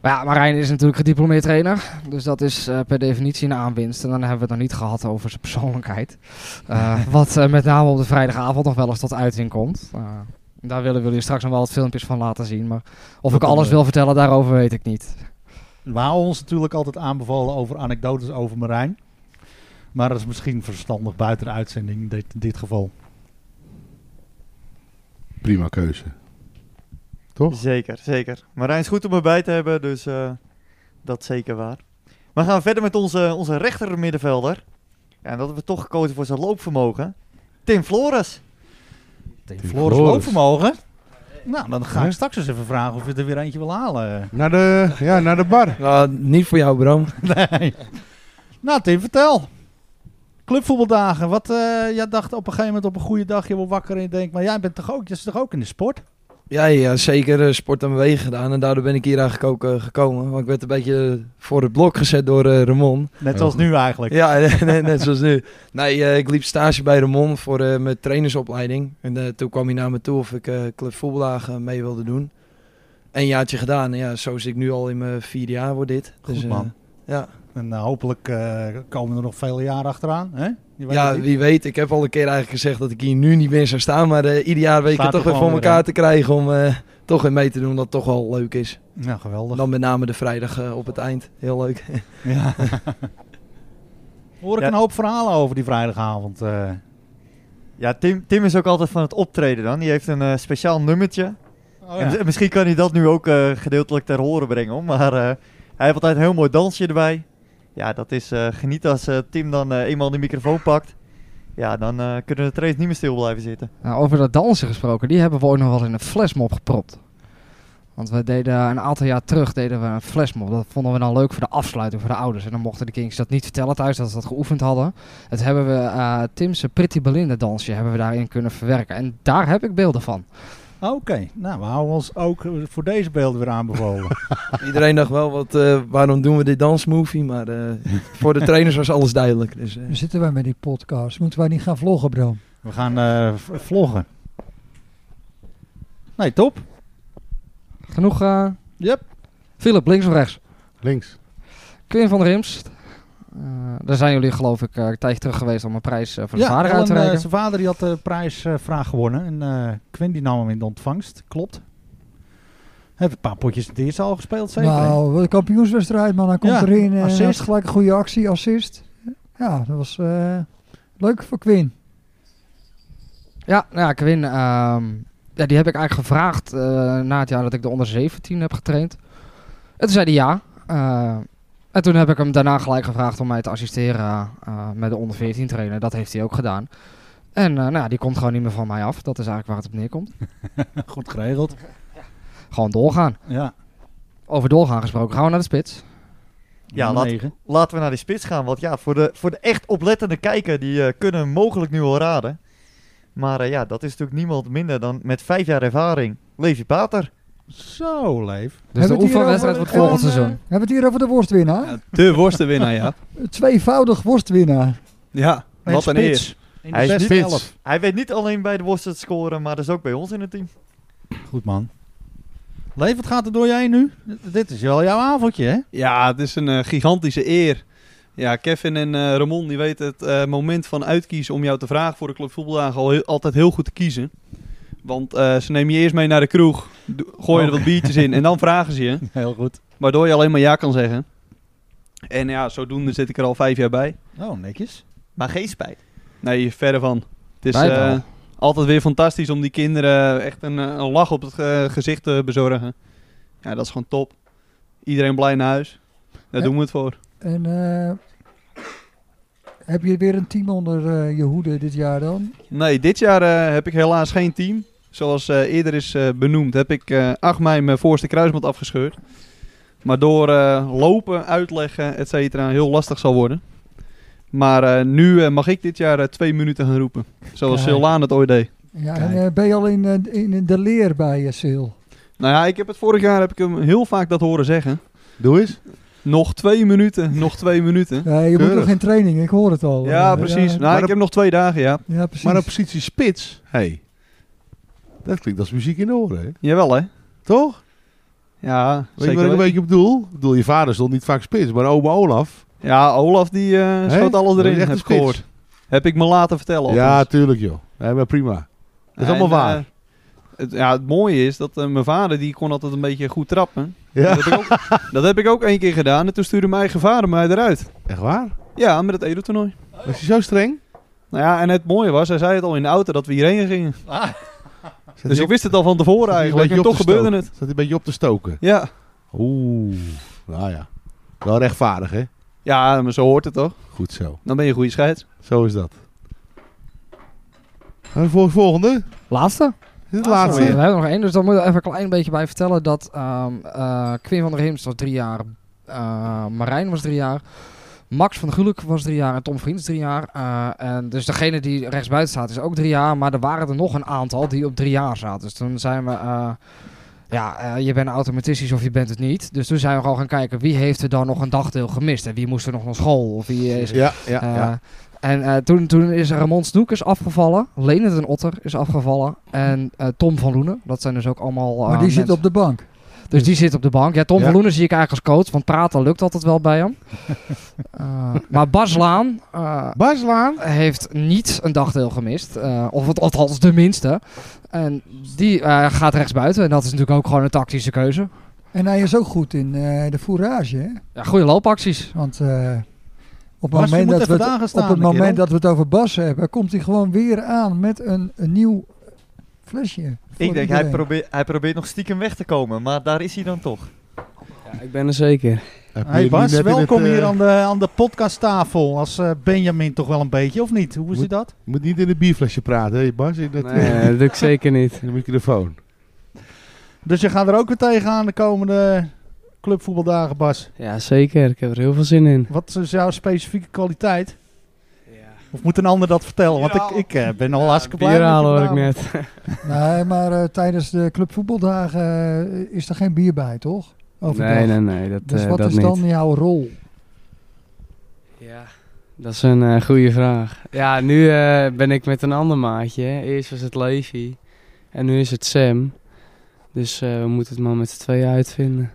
S7: Maar ja, Marijn is natuurlijk gediplomeerd trainer. Dus dat is eh, per definitie een aanwinst. En dan hebben we het nog niet gehad over zijn persoonlijkheid. Eh, wat eh, met name op de vrijdagavond nog wel eens tot uiting komt. Eh, daar willen we jullie straks nog wel wat filmpjes van laten zien. Maar of ik
S2: komen
S7: alles
S2: we-
S7: wil vertellen daarover, weet ik niet.
S2: We houden ons natuurlijk altijd aanbevolen over anekdotes over Marijn. Maar dat is misschien verstandig buiten de uitzending in dit, in dit geval.
S4: Prima keuze. Toch?
S8: Zeker, zeker. Marijn is goed om erbij te hebben, dus eh, dat is zeker waar. Maar gaan we verder met onze, onze rechter middenvelder. Ja, en dat hebben we toch gekozen voor zijn loopvermogen. Tim Flores.
S2: Tim Floris loopvermogen. Nou, dan ga ik straks eens even vragen of je er weer eentje wil halen.
S4: Naar de, ja, naar de bar.
S6: niet voor jou, Bram.
S2: Nee. Nou, Tim, vertel. Clubvoetbaldagen. Wat, eh, jij dacht op een gegeven moment op een goede dag, je wordt wakker en je denkt, maar jij bent toch ook, je is toch ook in de sport?
S13: Ja, ja zeker eh, sport en bewegen gedaan. En daardoor ben ik hier eigenlijk ook eh, gekomen. Want ik werd een beetje voor het blok gezet door eh, Ramon.
S2: Net zoals nu eigenlijk.
S13: Ja, net, net zoals nu. Nee, eh, ik liep stage bij Ramon voor eh, mijn trainersopleiding. En eh, toen kwam hij naar me toe of ik eh club voetbaldagen mee wilde doen. Een jaartje gedaan. En ja, zo zit ik nu al in mijn vierde jaar voor dit.
S2: Goed
S13: eh,
S2: man.
S13: ja.
S2: En eh, hopelijk eh, komen er nog vele jaren achteraan. Hè? Je weet het
S13: ja,
S2: niet.
S13: wie weet. Ik heb al een keer eigenlijk gezegd dat ik hier nu niet meer zou staan. Maar eh, ieder jaar weet ik
S2: Staat
S13: het toch
S2: er
S13: weer
S2: gewoon
S13: voor
S2: weer,
S13: elkaar
S2: hè?
S13: te krijgen om eh, toch weer mee te doen. Dat toch wel leuk is.
S2: Ja, geweldig.
S13: Dan met name de vrijdag eh, op het eind. Heel leuk.
S2: Ja. Hoor ik
S13: Ja.
S2: een hoop verhalen over die vrijdagavond. eh.
S8: Ja, Tim, Tim is ook altijd van het optreden dan. Die heeft een eh, speciaal nummertje.
S2: Oh, ja.
S8: en, mis- misschien kan hij dat nu ook eh, gedeeltelijk ter horen brengen. hoor. Maar eh, hij heeft altijd een heel mooi dansje erbij. Ja, dat is eh geniet als eh, Tim dan eh, eenmaal de microfoon pakt. Ja, dan eh, kunnen de trains niet meer stil blijven zitten.
S7: Nou, over dat dansen gesproken, die hebben we ook nog wel in een flesmop gepropt. Want we deden een aantal jaar terug deden we een flesmop. Dat vonden we dan leuk voor de afsluiting voor de ouders. En dan mochten de Kings dat niet vertellen thuis dat ze dat geoefend hadden. Het hebben we eh Tim's Pretty Belinda dansje hebben we daarin kunnen verwerken. En daar heb ik beelden van.
S2: Oké, nou we houden ons ook eh, voor deze beelden weer aanbevolen.
S13: Iedereen dacht wel, wat, eh, waarom doen we dit dansmovie? Maar eh, voor de trainers was alles duidelijk. Dus, eh,
S1: Waar zitten wij met die podcast? Moeten wij niet gaan vloggen, Bram?
S2: We gaan eh, v- vloggen. Nee, top.
S7: Genoeg. eh
S2: yep.
S7: Philip, links of rechts?
S4: Links.
S7: Quinn van der Imst. Eh, daar zijn jullie geloof ik eh, een tijdje terug geweest om een prijs eh, voor de vader
S2: Ellen,
S7: uit te
S2: eh,
S7: reiken.
S2: zijn vader die had de prijsvraag gewonnen. En eh Quinn die nam hem in de ontvangst. Klopt. Heeft een paar potjes in het eerste al gespeeld, zeker. hè?
S1: Nou, wat een kampioenswedstrijd, man. Hij komt
S2: Ja,
S1: erin. eh,
S2: assist.
S1: hij had gelijk een goede actie, assist. Ja, dat was eh, leuk voor Quinn.
S7: Ja, nou ja, Quinn, ehm, ja, die heb ik eigenlijk gevraagd eh, na het jaar dat ik de onder 17 heb getraind. En toen zei hij ja. Eh, en toen heb ik hem daarna gelijk gevraagd om mij te assisteren eh, met de onder 14 trainer. Dat heeft hij ook gedaan. En eh, nou, ja, die komt gewoon niet meer van mij af. Dat is eigenlijk waar het op neerkomt.
S2: Goed geregeld.
S7: Gewoon doorgaan.
S2: Ja.
S7: Over doorgaan gesproken. Gaan we naar de spits.
S8: Ja, laat-
S7: negen.
S8: laten we naar die spits gaan. Want ja, voor de, voor de echt oplettende kijker, die eh, kunnen mogelijk nu al raden. Maar eh, ja, dat is natuurlijk niemand minder dan met vijf jaar ervaring Levi Pater.
S2: Zo, Leef.
S7: Dus de oefenwedstrijd
S1: voor
S7: wordt volgend seizoen.
S1: Hebben eh, we het hier over de worstwinnaar?
S6: De
S1: eh?
S6: worstenwinnaar, ja.
S1: Tweevoudig worstwinnaar.
S6: Ja,
S1: En
S6: wat een
S1: spits.
S6: eer.
S1: In de
S8: Hij, is
S1: beste
S8: niet,
S1: elf.
S8: hij weet niet alleen bij de worst het scoren, maar dat is ook bij ons in het team.
S2: Goed man. Leef, wat gaat er door jij nu? D- dit is wel jouw avondje, hè?
S6: Ja, het is een eh, gigantische eer. Ja, Kevin en eh, Ramon die weten het eh, moment van uitkiezen om jou te vragen voor de Club Voetbaldagen al heel- altijd heel goed te kiezen. Want eh, ze nemen je eerst mee naar de kroeg, do- gooien er
S2: Oh.
S6: wat biertjes in en dan vragen ze je.
S2: Heel goed.
S6: Waardoor je alleen maar ja kan zeggen. En ja, zodoende zit ik er al vijf jaar bij.
S2: Oh, netjes.
S8: Maar geen spijt.
S6: Nee, verre van. Het is
S7: Wij
S6: eh,
S7: wel.
S6: altijd weer fantastisch om die kinderen echt een, eh, een lach op het eh, gezicht te bezorgen. Ja, dat is gewoon top. Iedereen blij naar huis. Daar
S1: Ja.
S6: doen we het voor.
S1: En eh, heb je weer een team onder eh, je hoede dit jaar dan?
S6: Nee, dit jaar eh, heb ik helaas geen team. Zoals eh, eerder is eh, benoemd, heb ik eh 8 mei mijn voorste kruisband afgescheurd. Maar door eh, lopen, uitleggen, et cetera, heel lastig zal worden. Maar eh, nu eh, mag ik dit jaar eh, twee minuten gaan roepen. Zoals
S1: Kijk.
S6: Sillaan het ooit deed.
S1: Ja, en eh, ben je al in, eh, in de leer bij je Sil?
S6: Nou ja, ik heb het vorig jaar heb ik hem heel vaak dat horen zeggen.
S4: Doe eens.
S6: Nog twee minuten, nog twee minuten.
S1: Ja, Eh, je moet nog in training, ik hoor het al.
S6: Ja,
S1: Eh,
S6: precies. nou, ik heb nog twee dagen, ja.
S1: Ja, precies.
S4: Maar op positie spits, hey, dat klinkt als muziek in de oren, hè?
S6: Jawel, hè?
S4: Toch?
S6: Ja,
S4: Weet je wat ik een beetje bedoel? Ik bedoel, je vader stond niet vaak spits, maar oma Olaf.
S6: Ja, Olaf die eh, schoot alles
S4: Dat is
S6: erin, heb
S4: echt een
S6: ik
S4: spits.
S6: gehoord. Heb ik me laten vertellen.
S4: Ja,
S6: althans.
S4: tuurlijk joh. Nee, maar prima. Dat is
S6: En,
S4: allemaal waar.
S6: eh, het, ja, het mooie is dat eh, mijn vader die kon altijd een beetje goed trappen.
S4: Ja.
S6: Dat, heb ik ook, dat heb ik ook één keer gedaan en toen stuurde mijn eigen vader mij eruit.
S4: Echt waar?
S6: Ja, met het Edo-toernooi.
S4: Was hij zo streng?
S6: Nou ja, en het mooie was, hij zei het al in de auto dat we hierheen gingen.
S4: hij
S6: dus ik
S4: op-
S6: wist het al van tevoren
S4: Zat hij een
S6: eigenlijk en
S4: beetje op
S6: toch
S4: te
S6: gebeurde
S4: stoken?
S6: het.
S4: Zat hij een beetje op te stoken?
S6: Ja.
S4: Oeh, nou ja. Wel rechtvaardig, hè?
S6: Ja, maar zo hoort het toch?
S4: Goed zo.
S6: Dan ben je een goede scheids.
S4: Zo is dat. Gaan we voor het volgende?
S7: Laatste?
S4: Dit is het laatste.
S7: we hebben nog één, dus dan moet ik er even een klein beetje bij vertellen dat ehm eh, Quinn van der Heems was drie jaar, eh, Marijn was drie jaar, Max van Gulik was drie jaar en Tom Vriends drie jaar. Eh, en dus degene die rechtsbuiten staat is ook drie jaar, maar er waren er nog een aantal die op drie jaar zaten. Dus toen zijn we, eh, ja, eh, je bent automatistisch of je bent het niet. Dus toen zijn we gewoon gaan kijken wie heeft er dan nog een dagdeel gemist en wie moest er nog naar school of wie is...
S4: Ja, ja,
S7: eh,
S4: ja.
S7: en eh, toen, toen is Ramon Snoek is afgevallen. Lenert en Otter is afgevallen. En eh, Tom van Loenen. Dat zijn dus ook allemaal... eh,
S1: Maar die zit
S7: mensen.
S1: op de bank.
S7: Dus die zit op de bank. Ja, Tom
S1: Ja.
S7: van Loenen zie ik eigenlijk als coach. Want praten lukt altijd wel bij hem. Eh, maar Bas Laan... eh, Heeft niet een dagdeel gemist. eh, of het, althans de minste. En die eh, gaat rechtsbuiten. En dat is natuurlijk ook gewoon een tactische keuze.
S1: En hij is ook goed in eh, de fourage, hè?
S7: Ja, goede loopacties.
S1: Want eh, op
S7: Bas,
S1: het
S7: je moet
S1: moment, dat
S7: even
S1: we
S7: daar
S1: het,
S7: gaan
S1: op
S7: staan,
S1: het
S7: kerel.
S1: moment dat we het over Bas hebben, komt hij gewoon weer aan met een, een nieuw flesje. voor
S8: Ik denk, hij
S1: iedereen.
S8: probeert, hij probeert nog stiekem weg te komen, maar daar is hij dan toch.
S13: Ja, ik ben er zeker.
S2: Hey Bas, welkom hier aan de, aan de podcasttafel. Als eh, Benjamin toch wel een beetje, of niet? Hoe is
S4: Moet-
S2: het dat?
S4: Je moet niet in het bierflesje praten, hè Bas? In dat,
S13: Nee, dat doe ik zeker niet.
S4: In de microfoon.
S2: Dus je gaat er ook weer tegenaan de komende clubvoetbaldagen, Bas.
S13: Ja, zeker. Ik heb er heel veel zin in.
S2: Wat is jouw specifieke kwaliteit? Of moet een ander dat vertellen? Want ik, ik eh, ben al hartstikke blij.
S13: bier
S2: met je
S13: halen hoor ik
S2: vanavond.
S13: net.
S1: Nee, maar eh, tijdens de clubvoetbaldagen eh, is er geen bier bij, toch? Overdag.
S13: Nee, nee, nee, dat,
S1: dus
S13: eh,
S1: wat
S13: dat
S1: is
S13: niet.
S1: dan jouw rol?
S13: Dat is een eh, goede vraag. Ja, nu eh, ben ik met een ander maatje. hè. Eerst was het Levi en nu is het Sam. Dus eh, we moeten het maar met z'n tweeën uitvinden.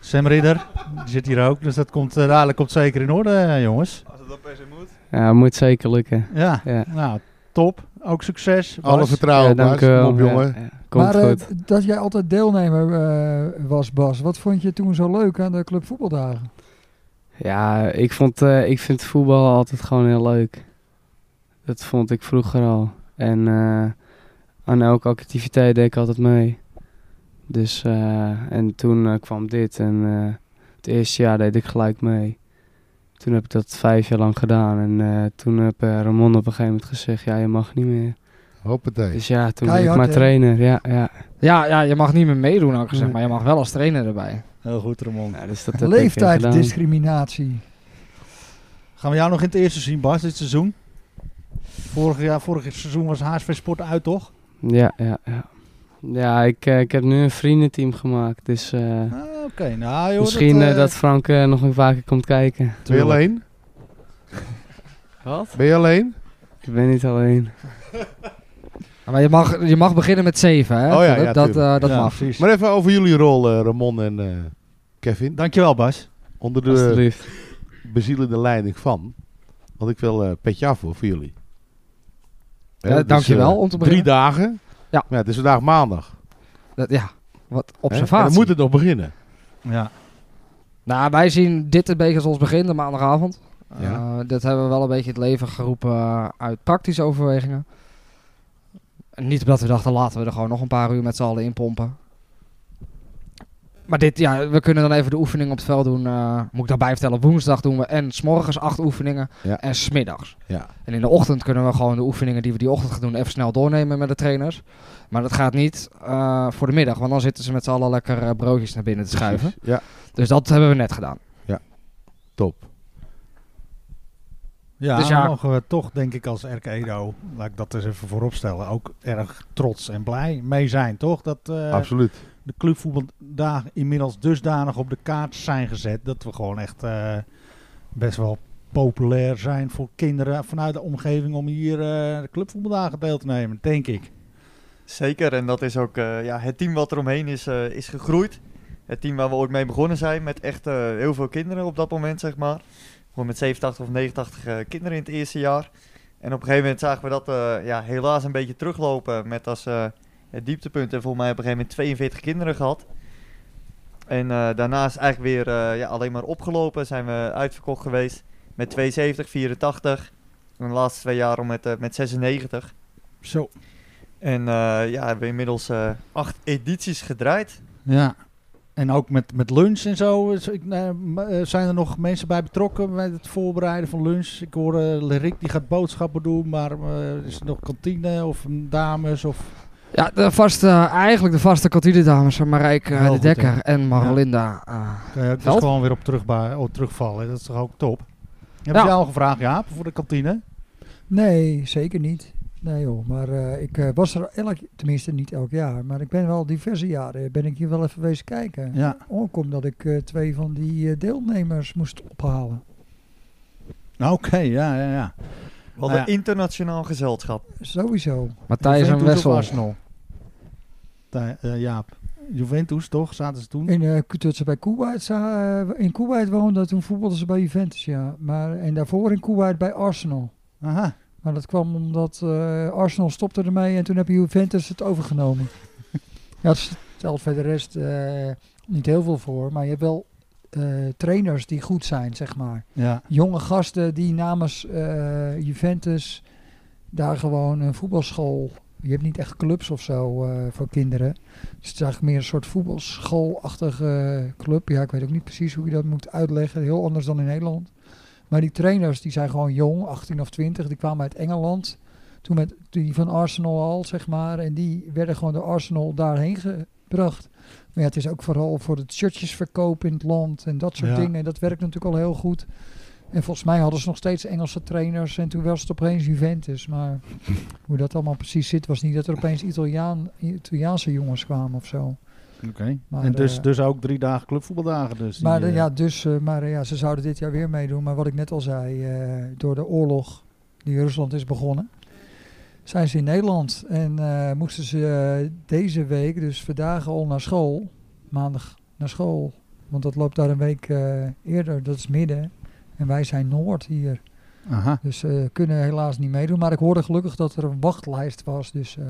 S2: Sam Ridder, die zit hier ook. Dus dat komt, eh, dadelijk komt zeker in orde, eh, jongens.
S13: Ja, het moet zeker lukken.
S2: Ja,
S13: ja.
S2: nou, top. Ook succes. Bas.
S4: Alle vertrouwen,
S13: Ja, dank
S4: Bas.
S13: u wel.
S4: Kom op,
S13: Ja,
S4: jongen.
S13: ja. Komt
S1: maar eh,
S13: goed.
S1: dat jij altijd deelnemer eh, was, Bas. Wat vond je toen zo leuk aan de clubvoetbaldagen?
S13: Ja, ik, vond, eh, ik vind voetbal altijd gewoon heel leuk. Dat vond ik vroeger al. En eh, aan elke activiteit deed ik altijd mee. Dus, eh, en toen eh, kwam dit en eh, het eerste jaar deed ik gelijk mee. Toen heb ik dat vijf jaar lang gedaan en eh, toen heb eh, Ramon op een gegeven moment gezegd, ja, je mag niet meer.
S4: Hoppatee.
S13: Dus ja, toen ben ik
S7: Keihard,
S13: maar
S7: hè?
S13: trainer, ja, ja.
S7: Ja, ja, je mag niet meer meedoen, had ik gezegd.
S13: Nee.
S7: Maar je mag wel als trainer erbij.
S2: Heel goed, Ramon.
S13: Ja, dus dat heb ik, eh, gedaan.
S1: Leeftijdsdiscriminatie.
S2: Gaan we jou nog in het eerste zien, Bas, dit seizoen? Vorig, jaar, vorig seizoen was HSV Sport uit, toch?
S13: Ja, ja, ja. Ja, ik, eh, ik heb nu een vriendenteam gemaakt, dus... eh,
S2: Oké, nou joh.
S13: Misschien
S2: dat,
S13: dat,
S2: eh,
S13: dat Frank eh, nog een paar keer komt kijken.
S4: Ben je alleen?
S13: Wat?
S4: Ben je alleen?
S13: Ik ben niet alleen.
S7: Maar je mag, je mag beginnen met zeven, hè?
S4: Oh ja,
S7: dat
S4: ja,
S7: dat,
S4: tuurlijk.
S7: eh, dat
S4: Ja,
S7: mag.
S2: precies.
S4: Maar even over jullie rol, eh, Ramon en eh, Kevin.
S2: Dankjewel, Bas.
S4: Onder de
S13: Alsjeblieft.
S4: bezielende leiding van. Want ik wil eh petje af hoor, voor jullie. Hè,
S7: Ja,
S4: dus,
S7: dankjewel,
S4: eh,
S7: om te
S4: Drie
S7: beginnen.
S4: dagen.
S7: Ja.
S4: Het is vandaag maandag.
S7: Dat, ja, wat
S4: hè? En
S7: observatie.
S4: Dan moet het nog beginnen.
S2: Ja.
S7: Nou, wij zien dit een beetje als ons begin, de maandagavond.
S4: Ja.
S7: Eh, dat hebben we wel een beetje het leven geroepen eh, uit praktische overwegingen. En niet omdat we dachten, laten we er gewoon nog een paar uur met z'n allen in pompen. Maar dit, ja, we kunnen dan even de oefening op het veld doen. eh, moet ik daarbij vertellen, woensdag doen we en s'morgens acht oefeningen
S4: Ja.
S7: en smiddags.
S4: Ja.
S7: En in de ochtend kunnen we gewoon de oefeningen die we die ochtend gaan doen even snel doornemen met de trainers. Maar dat gaat niet eh, voor de middag, want dan zitten ze met z'n allen lekker eh, broodjes naar binnen te schuiven.
S4: Precies, Ja,
S7: Dus dat hebben we net gedaan.
S4: top.
S2: Ja,
S7: Dus
S2: dus
S7: ja.
S2: mogen we toch, denk ik, als RK Edo, laat ik dat eens even voorop stellen, ook erg trots en blij mee zijn, toch? Dat, eh,
S4: Absoluut.
S2: de clubvoetbaldagen inmiddels dusdanig op de kaart zijn gezet. Dat we gewoon echt eh, best wel populair zijn voor kinderen vanuit de omgeving om hier eh, de clubvoetbaldagen deel te nemen, denk ik.
S8: Zeker, en dat is ook eh, ja, het team wat eromheen is, eh, is gegroeid. Het team waar we ooit mee begonnen zijn, met echt eh, heel veel kinderen op dat moment, zeg maar. Gewoon met 87 of 89 eh, kinderen in het eerste jaar. En op een gegeven moment zagen we dat eh, ja, helaas een beetje teruglopen met als eh, het dieptepunt. En volgens mij op een gegeven moment 42 kinderen gehad. En eh, daarna is eigenlijk weer eh, ja, alleen maar opgelopen. Zijn we uitverkocht geweest met 72, 84. En de laatste twee jaar al met, eh, met 96.
S2: Zo.
S8: En eh, ja, hebben we inmiddels eh, acht edities gedraaid.
S2: Ja. En ook met, met lunch en zo. is- ik, eh, m- eh, zijn er nog mensen bij betrokken bij het voorbereiden van lunch? Ik hoor eh, Rick die gaat boodschappen doen, maar eh, is er nog kantine of mm, dames of...
S7: Ja, de vaste, eigenlijk de vaste kantinedames van Marijke eh,
S2: Heel
S7: de
S2: goed,
S7: Dekker
S2: hè.
S7: en Marlinda. eh,
S2: Kan je ook dus
S7: Veld.
S2: gewoon weer op terugba- oh, terugvallen. Dat is toch ook top? Heb
S7: Ja.
S2: je al gevraagd, Jaap, voor de kantine?
S1: Nee, zeker niet. Nee joh, maar eh, ik eh, was er elk, tenminste niet elk jaar, maar ik ben wel diverse jaren, eh, ben ik hier wel even wezen kijken.
S2: Ja.
S1: Ook omdat ik eh, twee van die eh, deelnemers moest ophalen.
S2: Nou, Oké, ja, ja, ja.
S8: We hadden internationaal gezelschap.
S1: Sowieso.
S7: Nou Matthijs en
S2: Juventus of
S7: Wessel.
S2: Arsenal? Tij- eh, Jaap. Juventus, toch? Zaten ze toen?
S1: In, eh, toen ze bij Kuwait, za- eh, in Kuwait woonden, toen voetbalden ze bij Juventus, ja. Maar, en daarvoor in Kuwait bij Arsenal.
S2: Aha.
S1: Maar dat kwam omdat eh, Arsenal stopte ermee en toen heb Juventus het overgenomen. ja, het stelt verder de rest eh, niet heel veel voor, maar je hebt wel eh, trainers die goed zijn, zeg maar.
S2: Ja.
S1: Jonge gasten die namens eh, Juventus daar gewoon een voetbalschool... Je hebt niet echt clubs of zo eh, voor kinderen. Dus het is eigenlijk meer een soort voetbalschoolachtige eh, club. Ja, ik weet ook niet precies hoe je dat moet uitleggen. Heel anders dan in Nederland. Maar die trainers die zijn gewoon jong, 18 of 20. Die kwamen uit Engeland. Toen met die van Arsenal al, zeg maar. En die werden gewoon door Arsenal daarheen gebracht. Maar ja, het is ook vooral voor het shirtjesverkoop in het land en dat soort
S2: Ja.
S1: dingen. En dat werkt natuurlijk al heel goed. En volgens mij hadden ze nog steeds Engelse trainers. En toen was het opeens Juventus. Maar hoe dat allemaal precies zit, was niet dat er opeens Italiaan, Italiaanse jongens kwamen of zo.
S2: Oké.
S1: Maar,
S2: En dus,
S1: eh,
S2: dus ook drie dagen clubvoetbaldagen. Dus die,
S1: Maar,
S2: eh,
S1: eh, ja, dus, eh, maar eh, ja, ze zouden dit jaar weer meedoen. Maar wat ik net al zei, eh, door de oorlog die in Rusland is begonnen, zijn ze in Nederland. En eh, moesten ze eh, deze week, dus vandaag al naar school, maandag naar school. Want dat loopt daar een week eh, eerder, dat is midden. En wij zijn noord hier.
S2: Aha.
S1: Dus ze kunnen helaas niet meedoen. Maar ik hoorde gelukkig dat er een wachtlijst was. Dus eh,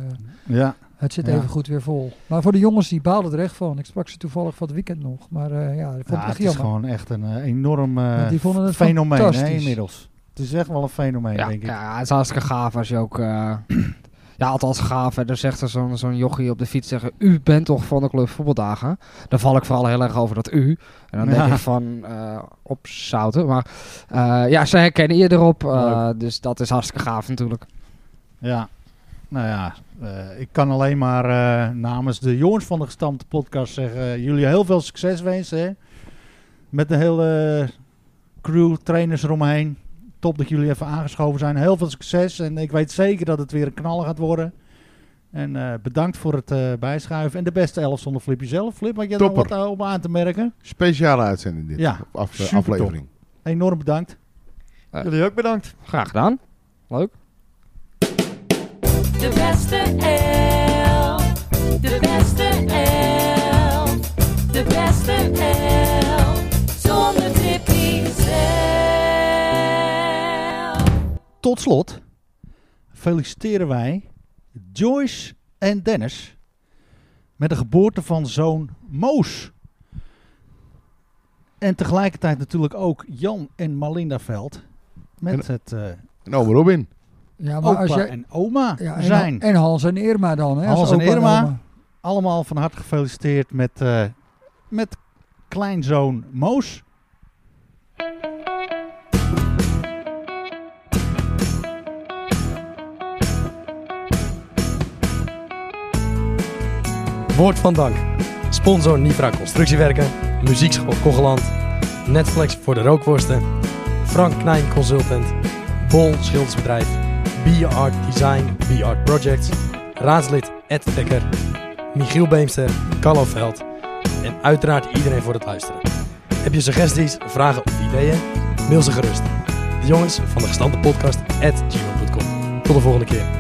S2: Ja.
S1: het zit
S2: Ja.
S1: even goed weer vol. Maar voor de jongens, die baalden er echt van. Ik sprak ze toevallig van het weekend nog. Maar eh, ja, dat vond
S2: ja,
S1: ik echt
S2: het
S1: jammer.
S2: is gewoon echt een eh, enorm eh,
S1: Want die vonden het
S2: fenomeen hè,
S1: fantastisch.
S2: inmiddels. Het is echt wel een fenomeen,
S7: ja,
S2: denk ik.
S7: ja, het is hartstikke gaaf als je ook... eh, ja, althans gaaf. En dan zegt er zo'n zo'n jochie op de fiets zeggen... U bent toch van de Club Voetbaldagen? Daar val ik vooral heel erg over dat u. En dan denk
S2: Ja.
S7: ik van... eh opzouten. Maar eh, ja, zij herkennen je erop. eh, dus dat is hartstikke gaaf natuurlijk.
S2: Ja, nou ja, eh, ik kan alleen maar eh, namens de jongens van de gestampte podcast zeggen: eh, jullie heel veel succes wensen. Hè? Met de hele crew, trainers eromheen. Top dat jullie even aangeschoven zijn. Heel veel succes en ik weet zeker dat het weer een knal gaat worden. En eh, bedankt voor het eh, bijschuiven. En de beste elf zonder Flip jezelf. Flip, had je daar
S4: Topper.
S2: wat eh, op aan te merken?
S4: Speciale uitzending dit.
S2: Ja,
S4: Af- eh,
S2: supertop.
S4: aflevering.
S2: Enorm bedankt.
S8: Jullie ook bedankt.
S7: Graag gedaan. Leuk.
S10: De beste elf. De beste elf. De beste elf. Zonder Tippy zelf.
S2: Tot slot feliciteren wij Joyce en Dennis met de geboorte van zoon Moos. En tegelijkertijd natuurlijk ook Jan en Malinda Veld met
S4: En-
S2: het eh
S4: En oma Robin.
S1: Ja,
S2: opa en oma
S1: Ja, en,
S2: zijn.
S1: en Hans en Irma dan, hè? als
S2: Hans en
S1: opa
S2: Irma,
S1: oma.
S2: allemaal van harte gefeliciteerd met, eh, met kleinzoon Moos.
S13: Woord van dank. Sponsor Nifra Constructiewerken. Muziekschool Kogeland. Netflix voor de rookworsten. Frank Knijn Consultant. Bol Schildersbedrijf. Be Art Design, Be Art Projects. Raadslid Ed Dekker.
S14: Michiel Beemster, Carlo Veld en uiteraard iedereen voor het luisteren. Heb je suggesties, vragen of ideeën? Mail ze gerust. De jongens van de gestande podcast at gmail.com. Tot de volgende keer.